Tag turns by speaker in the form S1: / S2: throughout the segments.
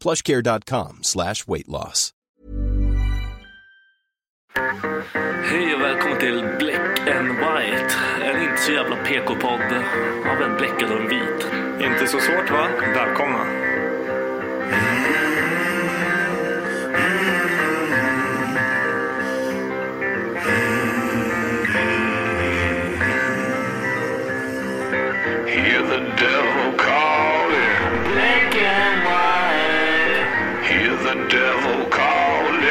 S1: plushcare.com slash weight loss.
S2: Hej och välkommen till Black and White. En inte så jävla PK-podd av en bläckad och en vit.
S3: Inte så svårt va? Välkomna.
S4: Hear the devil calling. Black and white. Hear the devil calling.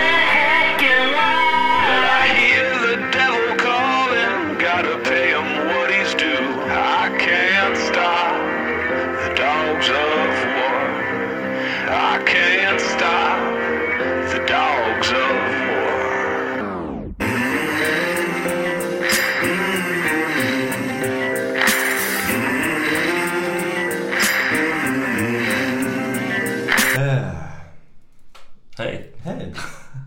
S4: Black and white. I hear the devil calling. Gotta pay him what he's due. I can't stop the dogs of war. I can't stop the dogs of war.
S2: Hej.
S3: Hej.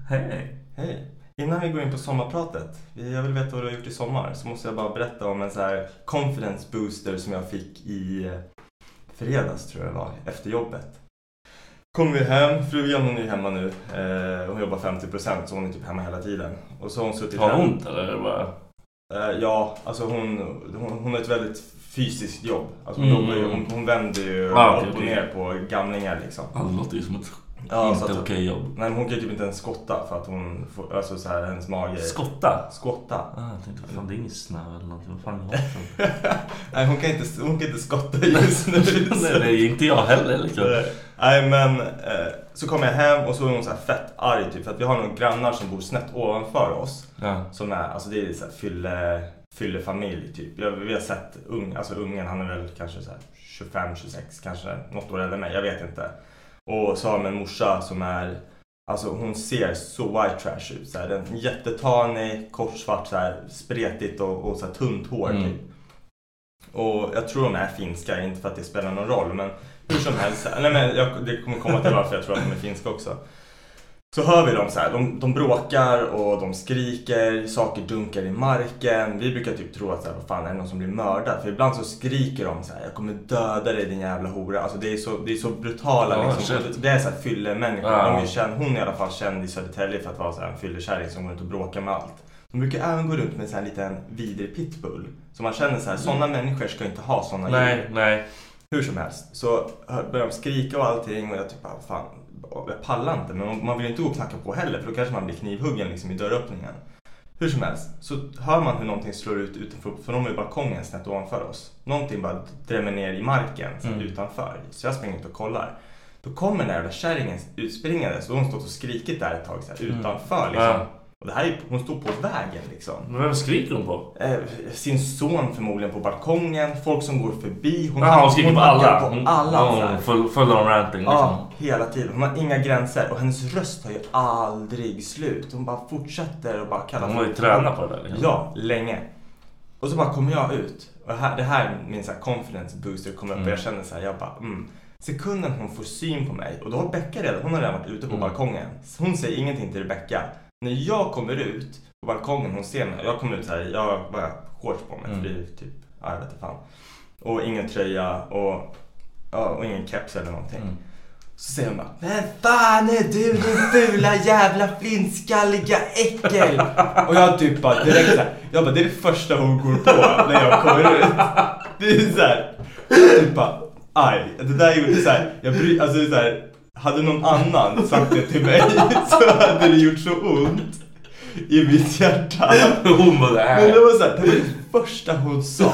S2: Hej.
S3: Hej. Innan vi går in på sommarpratet. Jag vill veta vad du har gjort i sommar. Så måste jag bara berätta om en så här confidence booster som jag fick i eh, fredags tror jag det var. Efter jobbet. Kom vi hem. Frugan hon är hemma nu. Eh, hon jobbar 50% så hon är typ hemma hela tiden. Och så har hon suttit
S2: Har du
S3: hemma-
S2: ont eller? är det Bara...
S3: Eh, ja, alltså hon, hon, hon har ett väldigt fysiskt jobb. Alltså hon,
S2: Mm.
S3: jobbar ju, hon, hon vänder ju
S2: Ah, okej,
S3: upp och
S2: okej.
S3: ner på gamlingar liksom.
S2: Ja, det låter ju som ett
S3: Ja, så
S2: inte
S3: att-
S2: okej jobb.
S3: Nej men hon kan ju typ inte ens skotta för att hon får, alltså så här, hennes mage...
S2: Skotta?
S3: skotta?
S2: Ah, jag tänkte fan det är ingen snö eller någonting. Vad fan är det här för-
S3: Nej hon kan inte, hon kan inte skotta just nu.
S2: Nej, det är inte jag heller liksom.
S3: Nej men eh, så kommer jag hem och så är hon så här fett arg typ för att vi har några grannar som bor snett ovanför oss.
S2: Ja.
S3: Som är, alltså det är så här fylle, fyllefamilj typ. Jag, vi har sett ung, alltså ungen, han är väl kanske så här 25, 26 kanske. Något år äldre än mig, jag vet inte. Och så har de en morsa som är, alltså hon ser så white trash ut. Så här, en jättetanig, kortsvart, så här, spretigt och, och så här, tunt hår typ. Och jag tror de är finska, inte för att det spelar någon roll men hur som helst. Nej, men jag, det kommer komma till varför jag tror att de är finska också. Så hör vi dem så här, de, de bråkar och de skriker, saker dunkar i marken. Vi brukar typ tro att så här, vad fan är det någon som blir mördad? För ibland så skriker de så här, jag kommer döda dig din jävla hora. Alltså det är så, det är så brutala
S2: Ja,
S3: liksom.
S2: shit.
S3: Det är så här fyllemänniskor.
S2: Ja.
S3: De är ju känd, hon är i alla fall känd i Södertälje för att vara så här en fyllekärring som går runt och bråkar med allt. De brukar även gå runt med en sån här liten vidrig pitbull. Så man känner så här, sådana människor ska inte ha sådana
S2: Mm. Nej, nej.
S3: hur som helst så hör- börjar de skrika och allting och jag typ bara, fan, jag pallar inte. Men man- man vill ju inte gå och knacka på heller för då kanske man blir knivhuggen liksom i dörröppningen. Hur som helst så hör man hur någonting slår ut utanför, för de har ju balkongen snett ovanför oss. Någonting bara drämmer ner i marken så här, utanför. Så jag springer ut och kollar. Då kommer den där jävla kärringen utspringandes och hon har stått och skrikit där ett tag så här, utanför liksom.
S2: Ja.
S3: Och det här är, hon stod på vägen liksom.
S2: Men vem skriker hon på?
S3: Eh, sin son förmodligen på balkongen, folk som går förbi. Hon,
S2: Jaha, hon skriker på alla.
S3: hackar På alla
S2: Ja,
S3: så här.
S2: hon full, full on ranting liksom.
S3: Ja, hela tiden. Hon har inga gränser och hennes röst tar ju aldrig slut. Hon bara fortsätter och bara kallar
S2: Hon har ju
S3: folk-
S2: tränat på det där. liksom.
S3: Ja, länge. Och så bara kommer jag ut. Och här, det här är min så här confidence booster kommer upp och jag känner så här, jag bara mm. Sekunden hon får syn på mig och då har Becka redan, hon har redan varit ute
S2: Mm.
S3: på balkongen. Hon säger ingenting till Rebecka. När jag kommer ut på balkongen, hon ser mig. Jag kommer ut så här, jag har bara shorts på mig
S2: Mm.
S3: för det är typ, ja, jag vet inte fan. Och ingen tröja och, ja, och ingen keps eller någonting. Så säger hon bara, vem fan är du din fula jävla flintskalliga äckel? Och jag typ bara direkt såhär, jag bara det är det första hon går på när jag kommer ut. Det är såhär, jag typ bara, aj, det där gjorde såhär, jag bry, alltså det är så här, hade någon annan sagt det till mig så hade det gjort så ont i mitt hjärta.
S2: Hon bara "Äh." det
S3: Men det
S2: här.
S3: var såhär, det var det första hon sa.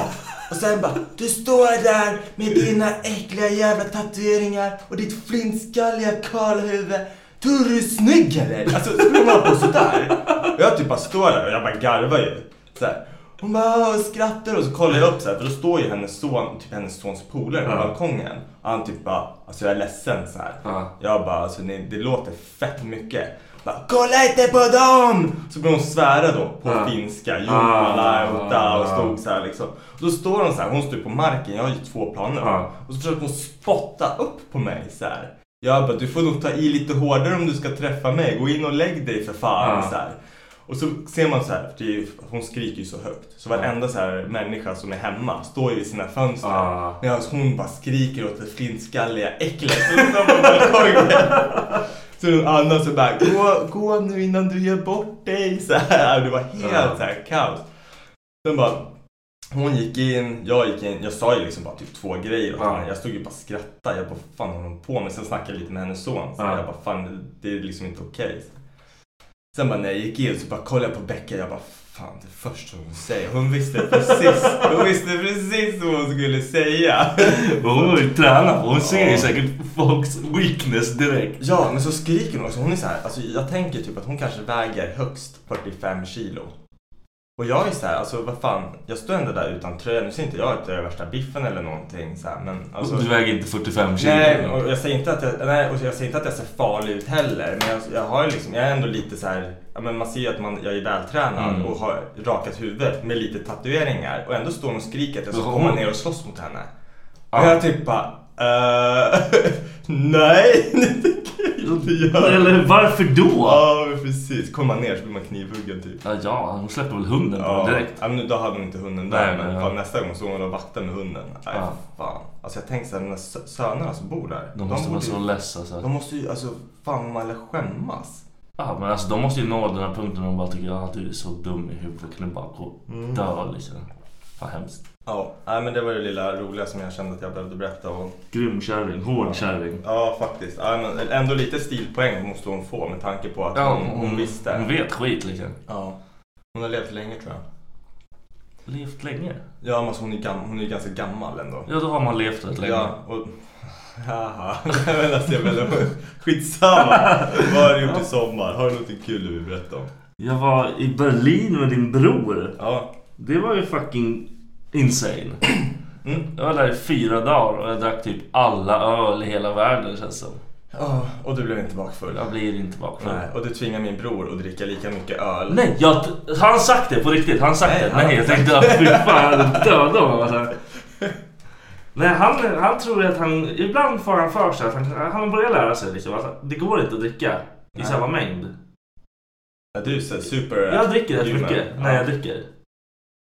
S3: Och sen bara, du står där med dina äckliga jävla tatueringar och ditt flintskalliga karlhuvud. Tror du du är snygg eller? Alltså skulle hon hålla på sådär? Och jag typ bara står där och jag bara garvar ju. Såhär. Hon bara "Åh", och skrattar och så kollar jag upp såhär för då står ju hennes son, typ hennes sons polare på
S2: Ja.
S3: balkongen. Och han typ bara, alltså jag är ledsen såhär.
S2: Ja.
S3: Jag bara, alltså ni, det låter fett mycket. Bara, kolla inte på dem! Så började hon svära då på
S2: Ja.
S3: finska.
S2: Ah,
S3: Jumalauta och
S2: ah.
S3: stod så här liksom. Och då står hon så här, hon står på marken, jag har ju två plan upp.
S2: Ja.
S3: Och så försöker hon spotta upp på mig så här. Jag bara, du får nog ta i lite hårdare om du ska träffa mig. Gå in och lägg dig för fan.
S2: Ja.
S3: Så här. Och så ser man så här, för det är, ju- hon skriker ju så högt. Så varenda så här människa som är hemma står ju vid sina fönster.
S2: Ja.
S3: Medan hon bara skriker åt det flintskalliga äcklet. som står på balkongen. Så någon annan så bara, gå, gå nu innan du gör bort dig. Så här. Det var helt
S2: Ja.
S3: så här kaos. Sen bara, hon gick in, jag gick in. Jag sa ju liksom bara typ två grejer åt
S2: Ja.
S3: henne. Jag stod ju bara och skrattade. Jag bara, fan håller hon på med? Sen snackade jag lite med hennes son. Så
S2: Ja.
S3: jag bara, fan det är liksom inte okej. Sen bara när jag gick in så bara kollade jag på Becka. Jag bara, fan det första hon säger. Hon visste precis, hon visste precis vad hon skulle säga.
S2: Hon har ju tränat på. Hon ser ju säkert folks weakness direkt.
S3: Ja, men så skriker hon också. Hon är så här, alltså jag tänker typ att hon kanske väger högst 45 kilo. Och jag är så här, alltså vad fan, jag står ändå där utan tröja. Nu ser inte jag ut att jag är värsta biffen eller någonting så här, men alltså...
S2: Du väger inte 45 kilo.
S3: Nej, och jag säger inte att jag, nej, och jag säger inte att jag ser farlig ut heller. Men jag, jag har ju liksom, jag är ändå lite så här, ja, men man ser ju att man, jag är vältränad
S2: Mm.
S3: och har rakat huvudet med lite tatueringar. Och ändå står hon och skriker att jag ska
S2: Jaha.
S3: komma ner och slåss mot henne.
S2: Ja.
S3: Och jag typ bara, eh, nej, det tänker jag inte göra.
S2: Eller varför då?
S3: Ja, men precis. Kommer man ner så blir man knivhuggen typ.
S2: Ja, ja hon släpper väl hunden på
S3: Ja,
S2: den direkt.
S3: ja, men då hade hon inte hunden där.
S2: Nej,
S3: men
S2: men, ja.
S3: fan, nästa gång såg hon och vakta med hunden. Nej,
S2: Ja.
S3: fan. Alltså jag tänkte såhär, mina sö- sönerna som bor där.
S2: De måste vara
S3: borde ju-
S2: så less alltså.
S3: de måste ju, alltså fan man lär skämmas.
S2: Ja, men alltså de måste ju nå den här punkten där de bara tycker att du är så dum i huvudet. Kan du bara gå och dö liksom. Fan hemskt.
S3: Mm. Ja, nej men det var det lilla roliga som jag kände att jag behövde berätta om.
S2: Grym kärring, hård kärring.
S3: Ja, faktiskt. Ja, men ändå lite stilpoäng måste hon få med tanke på att hon, hon visste.
S2: Mm. Hon vet skit liksom.
S3: Ja. Hon har levt länge tror jag.
S2: Levt länge.
S3: Ja, men alltså, hon är, gam- hon är ju ganska gammal ändå.
S2: Ja, då har man levt rätt länge.
S3: Ja, och... Haha, nej men alltså jag menar, skitsamma. Vad har du gjort i sommar? Har du någonting kul du vill berätta om?
S2: Jag var i Berlin med din bror.
S3: Ja.
S2: Det var ju fucking insane.
S3: Mm.
S2: Jag var där i fyra dagar och jag drack typ alla öl i hela världen känns som.
S3: Ja, och du blev inte bakfull?
S2: Jag blir inte bakfull.
S3: Nej, och du tvingar min bror att dricka lika mycket öl.
S2: Nej, jag, har han sagt det på riktigt? Har Han sagt
S3: Nej,
S2: det?
S3: han-
S2: Nej, jag tänkte att fy fan, jag döda honom. Alltså. Nej, han, han tror att han... Ibland får han för sig att han, han börjar lära sig liksom, att det går inte att dricka i
S3: Nej.
S2: samma mängd.
S3: Ja, du är så super...
S2: Jag dricker rätt
S3: gamer.
S2: mycket
S3: Ja.
S2: när jag dricker.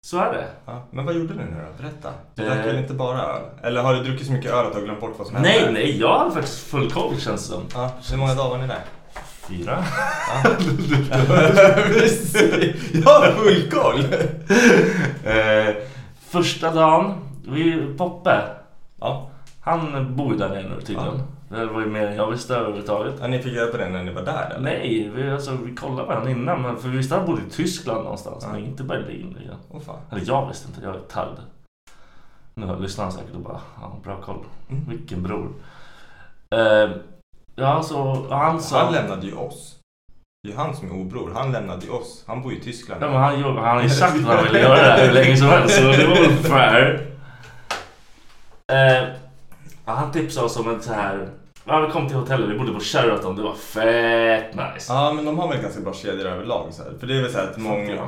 S2: Så är det.
S3: Ja, men vad gjorde ni nu då? Berätta. Du
S2: Eh.
S3: drack väl inte bara öl? Eller har du druckit så mycket öl att du har glömt bort vad som hände?
S2: Nej, nej, jag hade faktiskt full koll känns det som.
S3: Ja, hur många dagar var ni där?
S2: Fyra?
S3: Precis. jag har full koll!
S2: Eh, första dagen, vi, Poppe,
S3: Ja.
S2: han bor ju där nere nu tydligen. Det var ju mer än jag visste överhuvudtaget.
S3: ja, ni fick reda på det när ni var där eller?
S2: Nej, vi, alltså, vi kollade varandra innan. Men för vi visste att han bodde i Tyskland någonstans. Men inte Berlin. Liksom.
S3: Åh fan.
S2: Eller jag visste inte, jag är tagd. Nu lyssnar han säkert och bara, ja, bra koll.
S3: Mm.
S2: Vilken bror. Eh, ja, så han sa...
S3: Han lämnade ju oss. Det är han som är obror. Han lämnade ju oss. Han bor ju i Tyskland.
S2: Ja, men han, jobbar- han har ju sagt vad han ville göra det här hur länge som helst, så det var väl fair. Eh, ja, han tipsade oss om en så här... Ja, vi kom till hotellet, vi bodde på Sheraton, det var fett nice.
S3: Ja, men de har väl ganska bra kedjor överlag. Så här. För det är väl så här att många...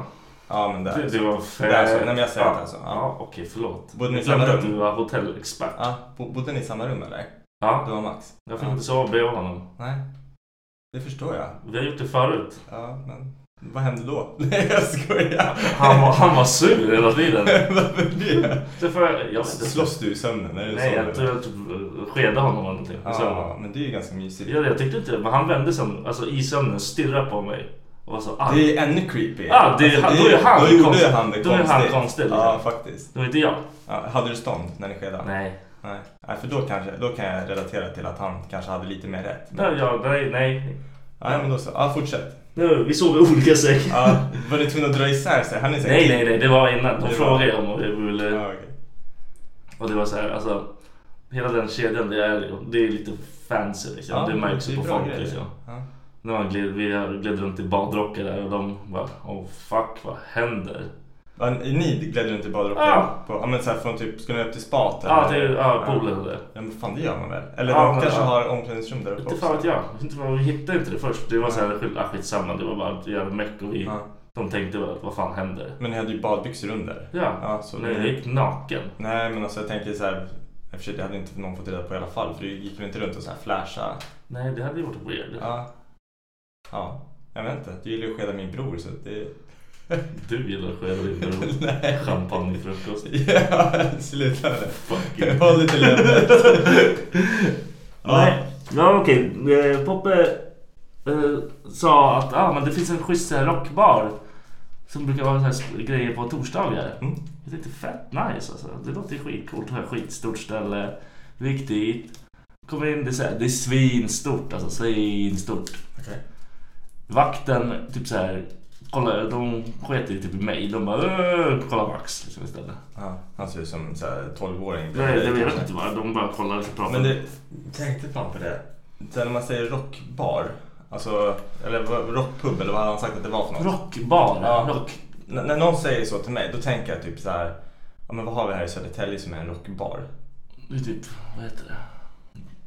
S3: Ja, men där.
S2: Det, det var
S3: Det är
S2: fett...
S3: så. Nej, men jag säger
S2: ja.
S3: inte så. Ja.
S2: Ja, okej, förlåt.
S3: Bodde ni
S2: Jag
S3: i samma
S2: glömde att
S3: rum?
S2: du var hotellexpert.
S3: Ja, bo- bodde ni i samma rum eller? Du
S2: Ja,
S3: och Max?
S2: jag fick
S3: Ja.
S2: inte sova bredvid honom.
S3: Nej. Det förstår jag.
S2: Vi har gjort det förut.
S3: Ja, men vad hände då? Nej, jag skojar.
S2: Han var, han var sur hela tiden.
S3: Varför det?
S2: Därför, jag vet inte.
S3: Slåss du i sömnen? Är det
S2: Nej,
S3: så?
S2: jag tror jag typ skedade honom eller någonting.
S3: Ja, men det är ju ganska mysigt.
S2: Ja, jag tyckte inte Men han vände sig om, alltså, i sömnen stirrade på mig. Och var så arg.
S3: Det är ännu creepy.
S2: Ja, Ah, det är- då är han
S3: Då gjorde
S2: konstig.
S3: ju han Alltså,
S2: Då
S3: det
S2: är han
S3: konstigt.
S2: konstig, liksom.
S3: Ja, faktiskt.
S2: Det var inte jag.
S3: Ja, hade du stånd när ni skedade?
S2: Nej.
S3: Nej. Nej, för då, kanske, då kan jag relatera till att han kanske hade lite mer rätt.
S2: Nej, ja, nej, nej.
S3: Nej, men då så. Ja, fortsätt.
S2: Nu, vi sov i olika sängar.
S3: Ja, var ni tvungna att dra isär sig? Han är säkert...
S2: Nej, nej, nej. Det var innan. De
S3: Det var-
S2: frågade om jag ville...
S3: Ja, okej.
S2: eh, Och det var så här, alltså. Hela den kedjan, det är, liksom, det är lite fancy liksom.
S3: Ja,
S2: det märks ju
S3: är
S2: på
S3: bra
S2: folk
S3: grejer.
S2: liksom.
S3: Ja.
S2: När man gled, vi gled runt i badrockar där och de bara, oh fuck vad händer?
S3: Ja, ni gled runt i badrocken?
S2: Ja.
S3: På, ja men såhär från typ, skulle ni upp till spat?
S2: Ja,
S3: eller?
S2: till ja, poolen där.
S3: Ja men fan det gör man väl? Eller
S2: Ja,
S3: de
S2: men
S3: kanske
S2: ja.
S3: har omklädningsrum där uppe
S2: Inte
S3: också?
S2: fan vet jag. Inte vad- Vi hittade inte det först. Det var så här, skit- ah, skitsamma. Det var bara ett jävla meck och vi,
S3: Ja.
S2: de tänkte väl att vad fan händer?
S3: Men ni hade ju badbyxor under.
S2: Ja,
S3: Ja, så
S2: nej,
S3: det-
S2: jag gick naken.
S3: Nej men alltså jag tänker såhär, i och för sig det hade inte någon fått reda på i alla fall för du gick väl inte runt och såhär flasha?
S2: Nej, det hade ju varit weird.
S3: Ja. Ja, jag vet inte. Du gillar ju att skeda min bror så det...
S2: Du gillar att skeda din bror.
S3: Nej.
S2: Champagnefrukost.
S3: ja, sluta med
S2: Fuck
S3: det.
S2: you.
S3: Håll lite lämnet.
S2: Nej, ja, okej. Eh, Poppe eh, sa att ah, men det finns en schysst så här rockbar som brukar vara så här sp- grejer på torsdagar.
S3: Mm.
S2: Jag tänkte fett nice alltså. Det låter ju skitcoolt. Det här skitstort ställe. Vi gick dit. Kom in, det är, så här, det är svinstort alltså. Svinstort.
S3: Okej.
S2: Vakten typ så här. Kolla, de sket i typ i mig. De bara "Åh, kolla Max liksom istället.
S3: Ja, han ser ut som en såhär 12-åring.
S2: Nej, det vet jag inte vad. De bara kollar och pratar.
S3: Men det, tänkte fan på det. Sen när man säger rockbar, alltså, eller vad- rockpub eller vad hade han sagt att det var för något?
S2: Rockbar.
S3: Ja.
S2: Rock.
S3: N- när någon säger så till mig, då tänker jag typ så här. Ja, men vad har vi här i Södertälje som är en rockbar?
S2: Det är typ, vad heter det?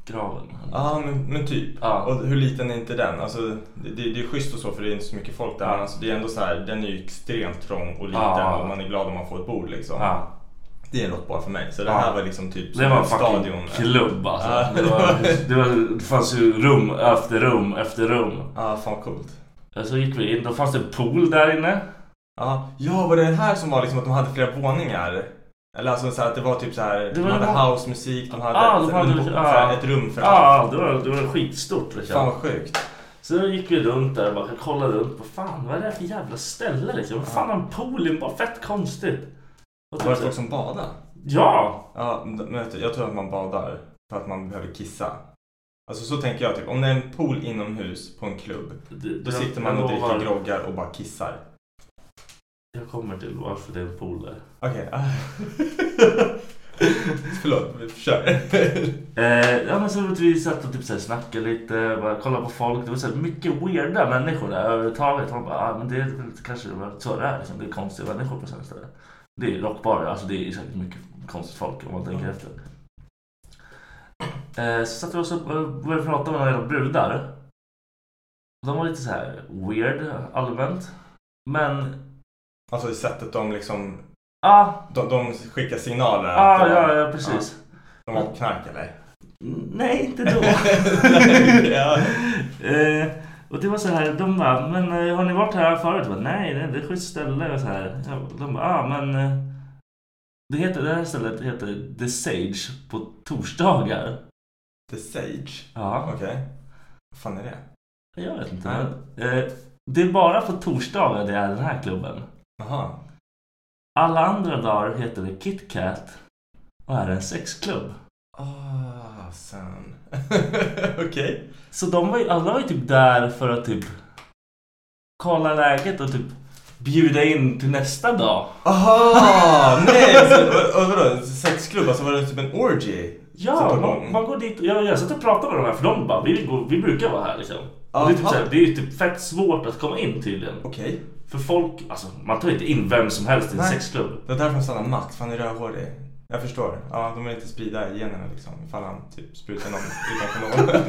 S2: Graven.
S3: Ja, men, men typ.
S2: Ja.
S3: Och hur liten är inte den? Alltså, det, det det är schysst och så för det är inte så mycket folk där. Men alltså, det är ändå så här, den är ju extremt trång och liten
S2: Ja.
S3: och man är glad om man får ett bord liksom.
S2: Ja.
S3: Det är en rockbar för mig. Så det
S2: Ja.
S3: här var liksom typ
S2: ah. Det var en
S3: stadion. Ah.
S2: fucking klubb alltså.
S3: Ja.
S2: Det, var, det, var, det fanns ju rum efter rum efter rum.
S3: Ja, fan coolt. Ah.
S2: Och Så gick vi in, då fanns det en pool där inne.
S3: Ja, ja, var det det här som var liksom att de hade flera våningar? Eller alltså så här, att det var typ så här,
S2: var
S3: de hade
S2: det-
S3: housemusik, de hade,
S2: Ja,
S3: ett,
S2: de hade
S3: Ah, en-
S2: lite- ah.
S3: så här,
S2: ja.
S3: ett rum för
S2: Ja,
S3: allt.
S2: liksom- det var, det var skitstort liksom.
S3: Fan vad sjukt.
S2: Så då gick vi runt där och bara kollade runt. Vad fan, vad är det här för jävla ställe liksom? Vad fan har en pool? i- Bara fett konstigt. Och
S3: Var
S2: typ
S3: det
S2: så-
S3: folk som badade?
S2: Ja!
S3: Ja, men vet du, jag tror att man badar för att man behöver kissa. Alltså så tänker jag typ, om det är en pool inomhus på en klubb,
S2: Det-
S3: då
S2: jag-
S3: sitter man
S2: jag
S3: och dricker
S2: lovar,
S3: groggar och bara kissar.
S2: Jag kommer till varför det är en pool där.
S3: Okej. ah. Förlåt, vi kör.
S2: Eh, ja men så att vi satt och typ så här snackade lite, bara kollade på folk. Det var så här mycket weirda människor där överhuvudtaget. Man bara, ah, men det är väl kanske det var så det är liksom. Det är konstiga människor på sådana ställen. Det är rockbarer, alltså det är säkert mycket konstigt folk om man tänker efter. Eh, så satt vi oss upp och började prata med några brudar. De var lite så här weird allmänt. Men,
S3: Alltså det sättet de liksom,
S2: ah,
S3: de, de skickar signaler.
S2: ah
S3: att de-
S2: ja, ja precis.
S3: De har knark eller?
S2: Nej, inte då.
S3: Ja.
S2: Eh, och det var så här, de bara, men eh, har ni varit här förut? Jag Bara, nej, nej, det är ett schysst ställe och så här. Jag- De bara, ah, men eh, det, heter, det här stället heter The Sage på torsdagar.
S3: The Sage?
S2: Ja,
S3: Okej. Vad fan är det?
S2: jag vet inte. Men, eh, det är bara på torsdagar det är den här klubben.
S3: Jaha.
S2: Alla andra dagar heter det KitKat och är en sexklubb.
S3: Ah, sen. Okej.
S2: Så de var ju, alla var ju typ där för att typ kolla läget och typ bjuda in till nästa dag.
S3: Aha! Nej! Så, vad- vad- vadå? Sexklubb? Alltså var det typ en orgy?
S2: Ja,
S3: Sätta
S2: man,
S3: igång.
S2: man går dit och jag, jag satt och pratade med de här för de bara, vi, går, vi brukar vara här liksom. Och det, är typ
S3: Aha.
S2: såhär, det är ju typ fett svårt att komma in tydligen.
S3: Okej.
S2: För folk, alltså man tar inte in vem som helst i en
S3: Nej.
S2: sexklubb.
S3: Det var därför han stannade Max, för han är rödhårig. Jag förstår. Ja, de är lite sprida i generna liksom. Ifall han typ sprutar någon utan kanon.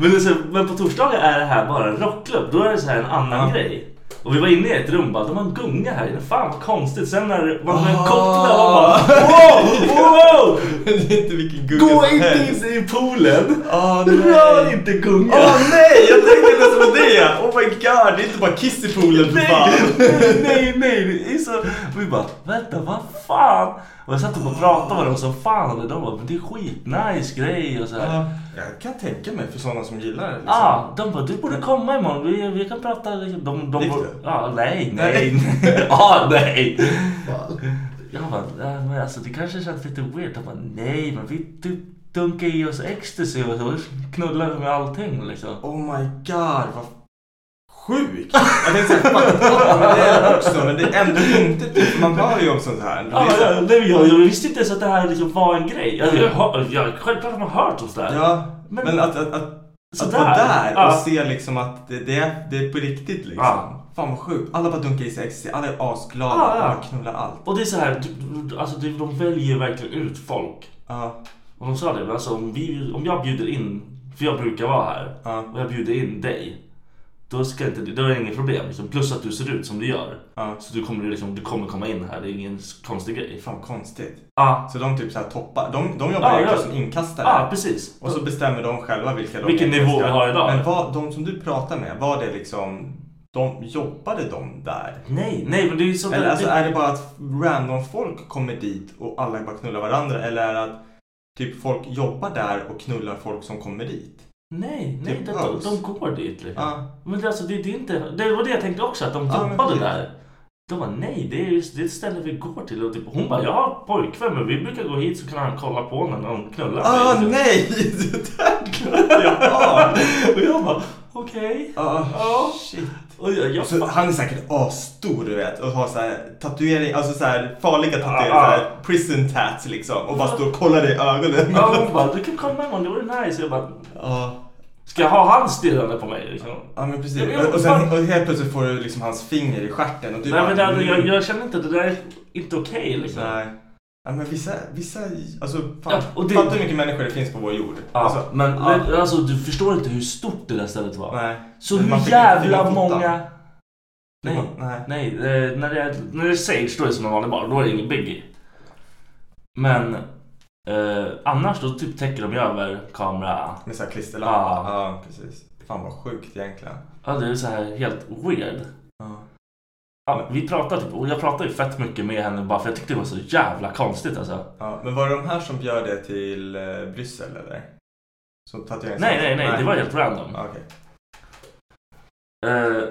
S2: Men, det är så här, men på torsdagar är det här bara en rockklubb. Då är det så här en annan
S3: Ja.
S2: grej. Och vi var inne i ett rum bara, de har en gunga här inne. Fan vad konstigt. Sen när man har en cocktail man bara wow, wow!
S3: Ah. det är inte vilken gugga
S2: Gå
S3: som
S2: inte
S3: helst.
S2: in i poolen!
S3: Åh, nej.
S2: Rör inte gungan!
S3: Åh nej, jag tänkte inte ens på det! Oh my god, det är inte bara kiss i poolen för fan.
S2: Nej, nej, nej, nej. Det är så... Och vi bara, vänta, vad fan? Och jag satt och pratade med dem som fan. Och de bara, men det är skitnice grej och så här.
S3: Ja, Jag kan tänka mig för sådana som gillar det. Liksom.
S2: Ja, de bara du borde komma imorgon, vi, vi kan prata. liksom. De, de,
S3: Gick
S2: de,
S3: det?
S2: ja, nej, nej, nej. ja, nej. Jag bara, ja, men alltså det kanske känns lite weird. De bara, nej, men vi du, dunkar i oss ecstasy och så knullar med allting liksom.
S3: Oh my god, vad sjukt! Jag tänkte säga fuck up med det också, men det är ändå inte typ, man hör ju om sånt här. Det
S2: Ja,
S3: är så-
S2: ja, nej, men jag, jag visste inte ens att det här liksom var en grej. Alltså, jag, har- jag, självklart har man hört om det här.
S3: ja,
S2: Men-
S3: men, att, att, att, att
S2: Sådär.
S3: vara där och
S2: Ja.
S3: se liksom att det, det, är, det är på riktigt liksom.
S2: Ja.
S3: Fan vad sjukt. Alla bara dunkar i sig ecstasy, alla är asglada,
S2: Ja, ja.
S3: alla knullar allt.
S2: Och det är så här, du- du- alltså, det- de väljer ju verkligen ut folk.
S3: Ja,
S2: Och de sa det, alltså, om, vi, om jag bjuder in, för jag brukar vara här,
S3: Ja.
S2: och jag bjuder in dig. Då, ska inte, då är det inget problem. Liksom. Plus att du ser ut som du gör.
S3: Ja.
S2: Så du kommer, liksom, du kommer komma in här, det är ingen konstig grej.
S3: fan vad konstigt.
S2: Ja,
S3: Så de typ så här toppar, de, de jobbar
S2: Ah, Ja,
S3: egentligen
S2: ja.
S3: som inkastare.
S2: ja precis.
S3: Och så bestämmer de själva vilka de
S2: Vilken
S3: egentligen
S2: nivå
S3: ska-
S2: vi har idag.
S3: Men vad, de som du pratar med, var det liksom, de, jobbade de där?
S2: Nej, nej men det är ju sånt
S3: Eller
S2: där-
S3: alltså, är det bara att random folk kommer dit och alla bara knullar varandra? Eller är det att typ folk jobbar där och knullar folk som kommer dit?
S2: Nej, nej
S3: Typ
S2: det, de,
S3: house.
S2: de går dit liksom.
S3: Ja.
S2: Men det, alltså, det, det, är inte, det var det jag tänkte också, att de
S3: Ja, men
S2: jobbade
S3: precis.
S2: där. De bara nej, det är, ju- det är ett ställe vi går till. Och typ, hon bara jag har pojkvän men vi brukar gå hit så kan han kolla på när någon knullar.
S3: Ah
S2: Liksom.
S3: nej! Det där glömde jag av!
S2: Och jag bara okej.
S3: Ah,
S2: Ja.
S3: shit.
S2: Och jag, jag
S3: Så
S2: fa-
S3: han är säkert asstor du vet och har så här tatuering, alltså så här farliga tatueringar,
S2: Ah, ah.
S3: så här prison tats liksom och bara står och kollar dig i ögonen.
S2: ja, hon bara du kan komma imorgon, det vore nice. Jag bara
S3: Ja.
S2: ska jag ha han stirrande på mig? Liksom?
S3: Ja men precis.
S2: Ja, men jag-
S3: och, och, sen, och helt plötsligt får du liksom hans finger i stjärten och du
S2: Nej
S3: bara...
S2: men det,
S3: mm,
S2: jag, jag känner inte, det där är inte okej liksom.
S3: Nej. Ja, men vissa, vissa, alltså fan,
S2: Ja, och det-
S3: fatta hur mycket människor det finns på vår jord.
S2: Ja,
S3: alltså,
S2: men
S3: ja,
S2: men, alltså, du förstår inte hur stort det där stället var.
S3: nej.
S2: Så
S3: Man
S2: hur
S3: fick inte
S2: jävla
S3: fota.
S2: många... Nej,
S3: Man- nej.
S2: nej. eh, När, det är, när det är Sage då är det som en vanlig bar, då är det ingen Biggie. Men eh, annars då typ täcker de ju över kamera...
S3: Med såhär klisterlappar.
S2: Ja.
S3: Ja. precis. Fan vad sjukt egentligen.
S2: Ja, det är så här helt weird.
S3: Ja.
S2: Ja, vi pratade typ, och jag pratade ju fett mycket med henne bara för jag tyckte det var så jävla konstigt alltså.
S3: Ja, men var det de här som bjöd det till eh, Bryssel eller? Som tatuerings...
S2: Nej, nej, nej, det var helt random.
S3: Ja, Okej.
S2: Eh,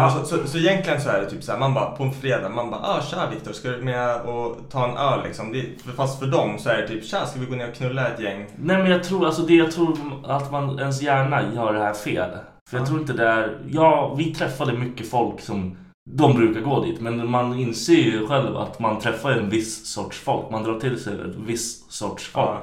S2: Ja.
S3: alltså, så, så egentligen så är det typ så här, man bara på en fredag, man bara ah, tja Viktor, ska du med och ta en öl liksom? Det, fast för dem så är det typ tja, ska vi gå ner och knulla ett gäng?
S2: nej, men jag tror, alltså det jag tror att man, ens hjärna gör det här fel. För jag tror inte det är, ja, vi träffade mycket folk som, de brukar gå dit, men man inser ju själv att man träffar en viss sorts folk. Man drar till sig en viss sorts folk.
S3: Ja.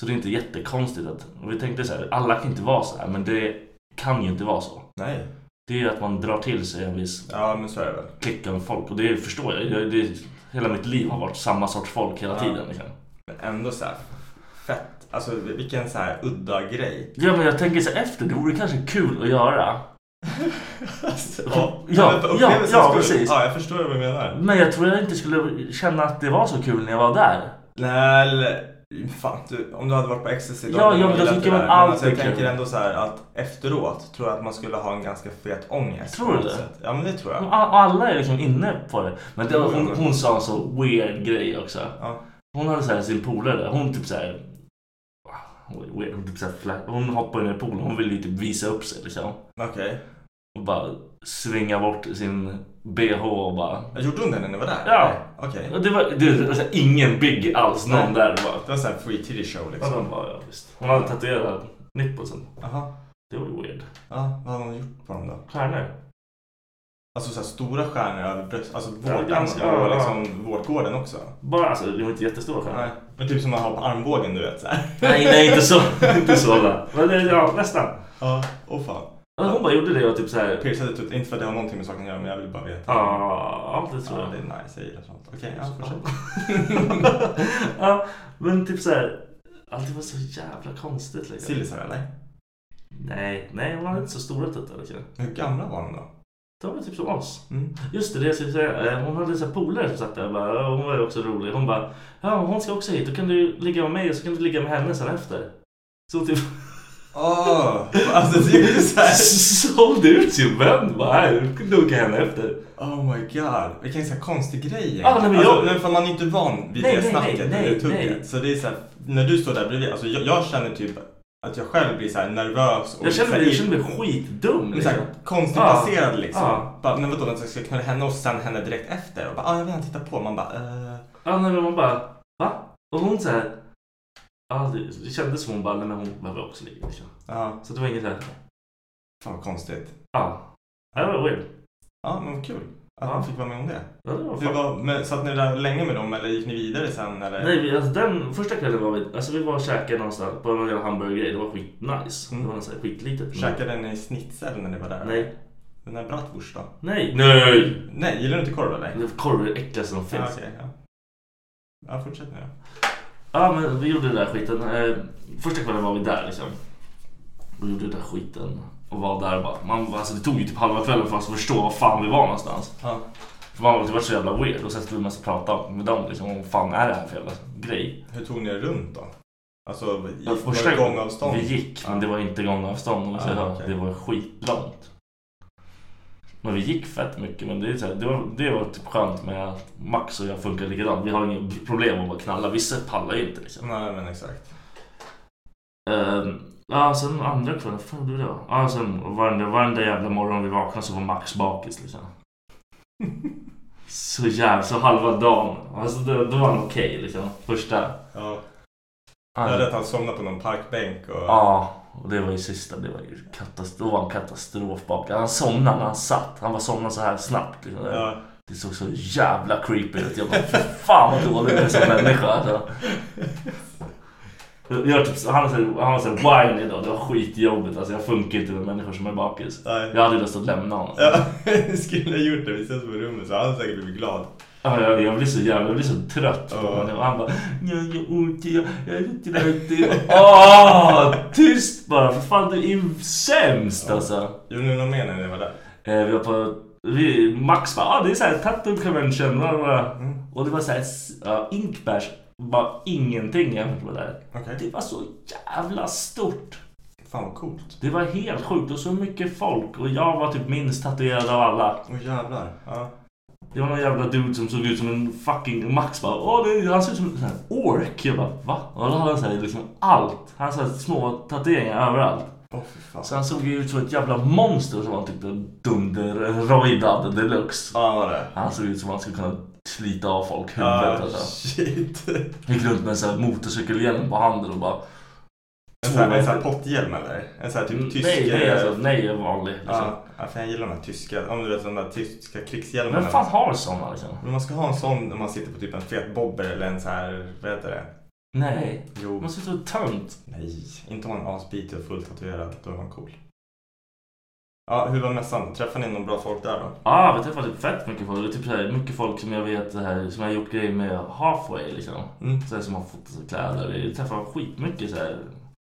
S2: Så det är inte jättekonstigt att, och vi tänkte så här, alla kan inte vara så här, men det kan ju inte vara så.
S3: Nej.
S2: Det är ju att man drar till sig en viss
S3: Ja, men så är det väl.
S2: klicka med folk och det förstår jag. jag det, hela mitt liv har varit samma sorts folk hela
S3: Ja.
S2: tiden. Liksom.
S3: Men ändå så här fett. Alltså vilken så här udda grej.
S2: Ja, men jag tänker så här, efter, det vore kanske kul att göra.
S3: Alltså,
S2: Ja,
S3: men för
S2: ja,
S3: upplevelsens
S2: ja,
S3: skull.
S2: precis.
S3: Ja, jag förstår vad du menar.
S2: Men jag tror jag inte skulle känna att det var så kul när jag var där.
S3: Nej, eller- fan du, om du hade varit på ecstasy då
S2: Ja,
S3: hade
S2: ja,
S3: du
S2: men då
S3: gillat
S2: tycker
S3: det
S2: man
S3: där.
S2: allt
S3: Men alltså, jag
S2: är kul.
S3: tänker ändå så här att efteråt tror jag att man skulle ha en ganska fet ångest.
S2: Tror
S3: på
S2: du
S3: något
S2: det?
S3: sätt. Ja, men det tror
S2: Och
S3: jag.
S2: a- Alla är liksom inne på det. Men det,
S3: Jo, jo,
S2: hon,
S3: jo.
S2: hon sa en så weird grej också.
S3: Ja.
S2: Hon hade så här sin polare där. Hon typ så här... Hon är weird. Hon, typ så här, fla- hon hoppade ner i poolen. Hon ville ju typ visa upp sig liksom.
S3: Okej.
S2: Och bara svinga bort sin bh och bara...
S3: Gjorde hon det när ni var där?
S2: Ja.
S3: Okej.
S2: Och Det var, det var så här, ingen big alls. Någon
S3: Nej.
S2: där bara...
S3: Det var så här free titty show
S2: Ja,
S3: liksom.
S2: de bara, ja visst. Hon hade tatuerat nipplesen.
S3: Jaha.
S2: Det var ju weird.
S3: Ja, vad hade hon gjort på dem då?
S2: Stjärnor.
S3: Alltså så här, stora stjärnor över bröst, alltså
S2: Ja,
S3: vårtan
S2: ganska-
S3: och
S2: ja, ja.
S3: liksom vårtgården också.
S2: Bara alltså, det var inte jättestora
S3: Nej.
S2: stjärnor.
S3: Men typ som man har på armbågen du vet så här.
S2: Nej, nej, inte så. inte så. va. Men det, ja, nästan.
S3: Ja, åh fan.
S2: Ja, Hon bara gjorde det och typ så här.
S3: Piercade tut, inte för att det har någonting med saken att göra men jag vill bara veta.
S2: Ja, det tror
S3: Ja,
S2: jag.
S3: det är nice, jag gillar sånt. Okej, ja, fortsätt.
S2: ja, men typ så här. Allt det var så jävla konstigt. Liksom.
S3: Sillisar eller?
S2: Nej, nej, hon hade inte så stora tuttar. Liksom.
S3: Hur gamla var de då?
S2: De var typ som oss.
S3: Mm.
S2: Just det, det jag skulle säga. eh, Hon hade så här polare som satt där. och Bara, och hon var ju också rolig. Hon bara, ja, hon ska också hit. Då kan du ligga med mig och så kan du ligga med henne sen efter. Så typ.
S3: Åh! alltså det är ju såhär...
S2: Sålde ut sin vän. Bara, här, du kan dunka henne efter.
S3: Oh my god. Vilken så här konstig grej.
S2: Ja, nej, men
S3: alltså,
S2: jag-
S3: nej, för man är inte van vid
S2: Nej,
S3: det
S2: nej,
S3: snacket
S2: nej,
S3: eller
S2: nej,
S3: tugget.
S2: nej.
S3: Så det är så här, när du står där bredvid, alltså jag, jag känner typ att jag själv blir så här nervös och
S2: Jag
S3: så
S2: kände,
S3: här,
S2: mig- jag
S3: i-
S2: kände mig skitdum.
S3: men så här,
S2: liksom.
S3: konstigt
S2: Ja,
S3: placerad liksom.
S2: ja.
S3: Bara, men vadå, vänta, ska jag knulla henne och sen henne direkt efter? Och bara, ah, jag vill gärna titta på. Man bara, eh.
S2: Ja, nej, men man bara, va? Och hon så här. Ja, det, det kändes som hon bara, nej men hon behöver också ligga. Liksom.
S3: Ja,
S2: Så det var inget så här,
S3: fan vad konstigt.
S2: ja. Det var weird.
S3: Ja, men vad kul att
S2: Ja.
S3: man fick vara med om det.
S2: Ja, det var
S3: Hur
S2: fan.
S3: var, men, satt ni där länge med dem eller gick ni vidare sen? Eller?
S2: Nej, vi, alltså, den första kvällen var vi, alltså, vi var och käkade någonstans på någon jävla hamburgergrej. Det var skitnice.
S3: Mm.
S2: Det var något så här skitlitet.
S3: Käkade ni schnitzel när ni var där?
S2: Nej.
S3: Den där bratwurst då?
S2: Nej. Nej!
S3: Nej, gillar du inte korv eller?
S2: Korv är det äckligaste som
S3: Ja,
S2: finns.
S3: okej, ja. ja, fortsätt nu då.
S2: Ja men vi gjorde den där skiten. Eh, Första kvällen var vi där liksom. Och gjorde den där skiten. Och var där bara. Man, alltså, det tog ju typ halva kvällen för oss att förstå var fan vi var någonstans.
S3: Ja.
S2: För man var varit så jävla weird. Och sen stod vi mest och pratade med dem liksom. Vad fan är det här för jävla grej?
S3: Hur tog ni er runt då? Alltså, i,
S2: Ja,
S3: var det gångavstånd?
S2: vi gick. Men det var inte gångavstånd. Om jag säger så.
S3: Ah, okej.
S2: Det var skitlångt. Men vi gick fett mycket. Men det, är så här, det, var, det var typ skönt med att Max och jag funkar likadant. Vi har inget problem att bara knalla. Vissa pallar ju inte liksom.
S3: Nej, men exakt.
S2: Ehm, Ja, sen andra kvällen, vad fan gjorde jag? Ja, sen varenda, varenda jävla morgon vi vaknade så var Max bakis liksom. Så jävla, så halva dagen. Alltså då, då var han okej liksom. Första.
S3: ja. Jag hörde att
S2: Ja,
S3: han somnade på någon parkbänk och...
S2: och det var ju sista. Det var ju katastrof. Då var han katastrof bakis. Han somnade när han satt. Han bara somnade så här snabbt. Liksom.
S3: Ja.
S2: Det såg så jävla creepy ut. Jag bara, fy fan vad dålig du är som människa. Alltså. Jag, jag, typ, han var så- han var såhär whiny idag, det var skitjobbigt. Alltså, jag funkar inte med människor som är bakis.
S3: Nej.
S2: Jag hade lust att lämna honom.
S3: Ja, vi skulle ha gjort det. Vi ses på rummet så han säkert blivit glad.
S2: Ja, Jag, jag blir så jävla, jag blir så trött på
S3: Ja.
S2: honom. Och han bara, jag gör ont, jag, jag är så trött. Åh, tyst bara! För fan du är sämst alltså.
S3: Gjorde ni något mer när ni var där?
S2: Eh, vi var på... Vi, Max bara, ah, det är såhär tattoo convention. Bla, bla.
S3: Mm.
S2: Och det var såhär, uh, inkbärs var ingenting jämfört med det där.
S3: Okej.
S2: Det var så jävla stort.
S3: Fan vad coolt.
S2: Det var helt sjukt och så mycket folk och jag var typ minst tatuerad av alla.
S3: Åh jävlar. Ja.
S2: Det var någon jävla dude som såg ut som en fucking Max bara Åh, det, han ser ut som en sån här ork. Jag bara va? Och då hade han såhär liksom allt. Han hade så här små tatueringar överallt.
S3: Åh fy fan.
S2: Så han såg ju ut som ett jävla monster som var typ en dunder-rojdad deluxe.
S3: Ja, han var det.
S2: Han såg ut som att han skulle kunna slita av folk huvudet.
S3: Ja,
S2: alltså.
S3: shit.
S2: Gick runt med en sån här motorcykelhjälm på handen och bara...
S3: En sån här, en sån här potthjälm eller? En sån här typ tysk...
S2: nej, nej,
S3: eh,
S2: alltså, nej, jag är vanlig. Liksom.
S3: Ja, ja, för jag gillar de här tyska, om du vet de där tyska krigshjälmarna.
S2: Vem fan har såna liksom?
S3: Men man ska ha en sån när man sitter på typ en fet bobber eller en så här, vad heter det?
S2: Nej.
S3: Jo.
S2: Man sitter och tönt.
S3: Nej, inte ha en asbitig och fullt tatuerad. Då är man cool. Ja, hur var mässan? Träffade ni någon bra folk där då?
S2: Ja, vi träffade typ fett mycket folk. Det är typ så här, mycket folk som jag vet det här, som jag har gjort grejer med halfway liksom.
S3: Mm.
S2: Så här, som har fått så kläder. Vi träffade skitmycket så här.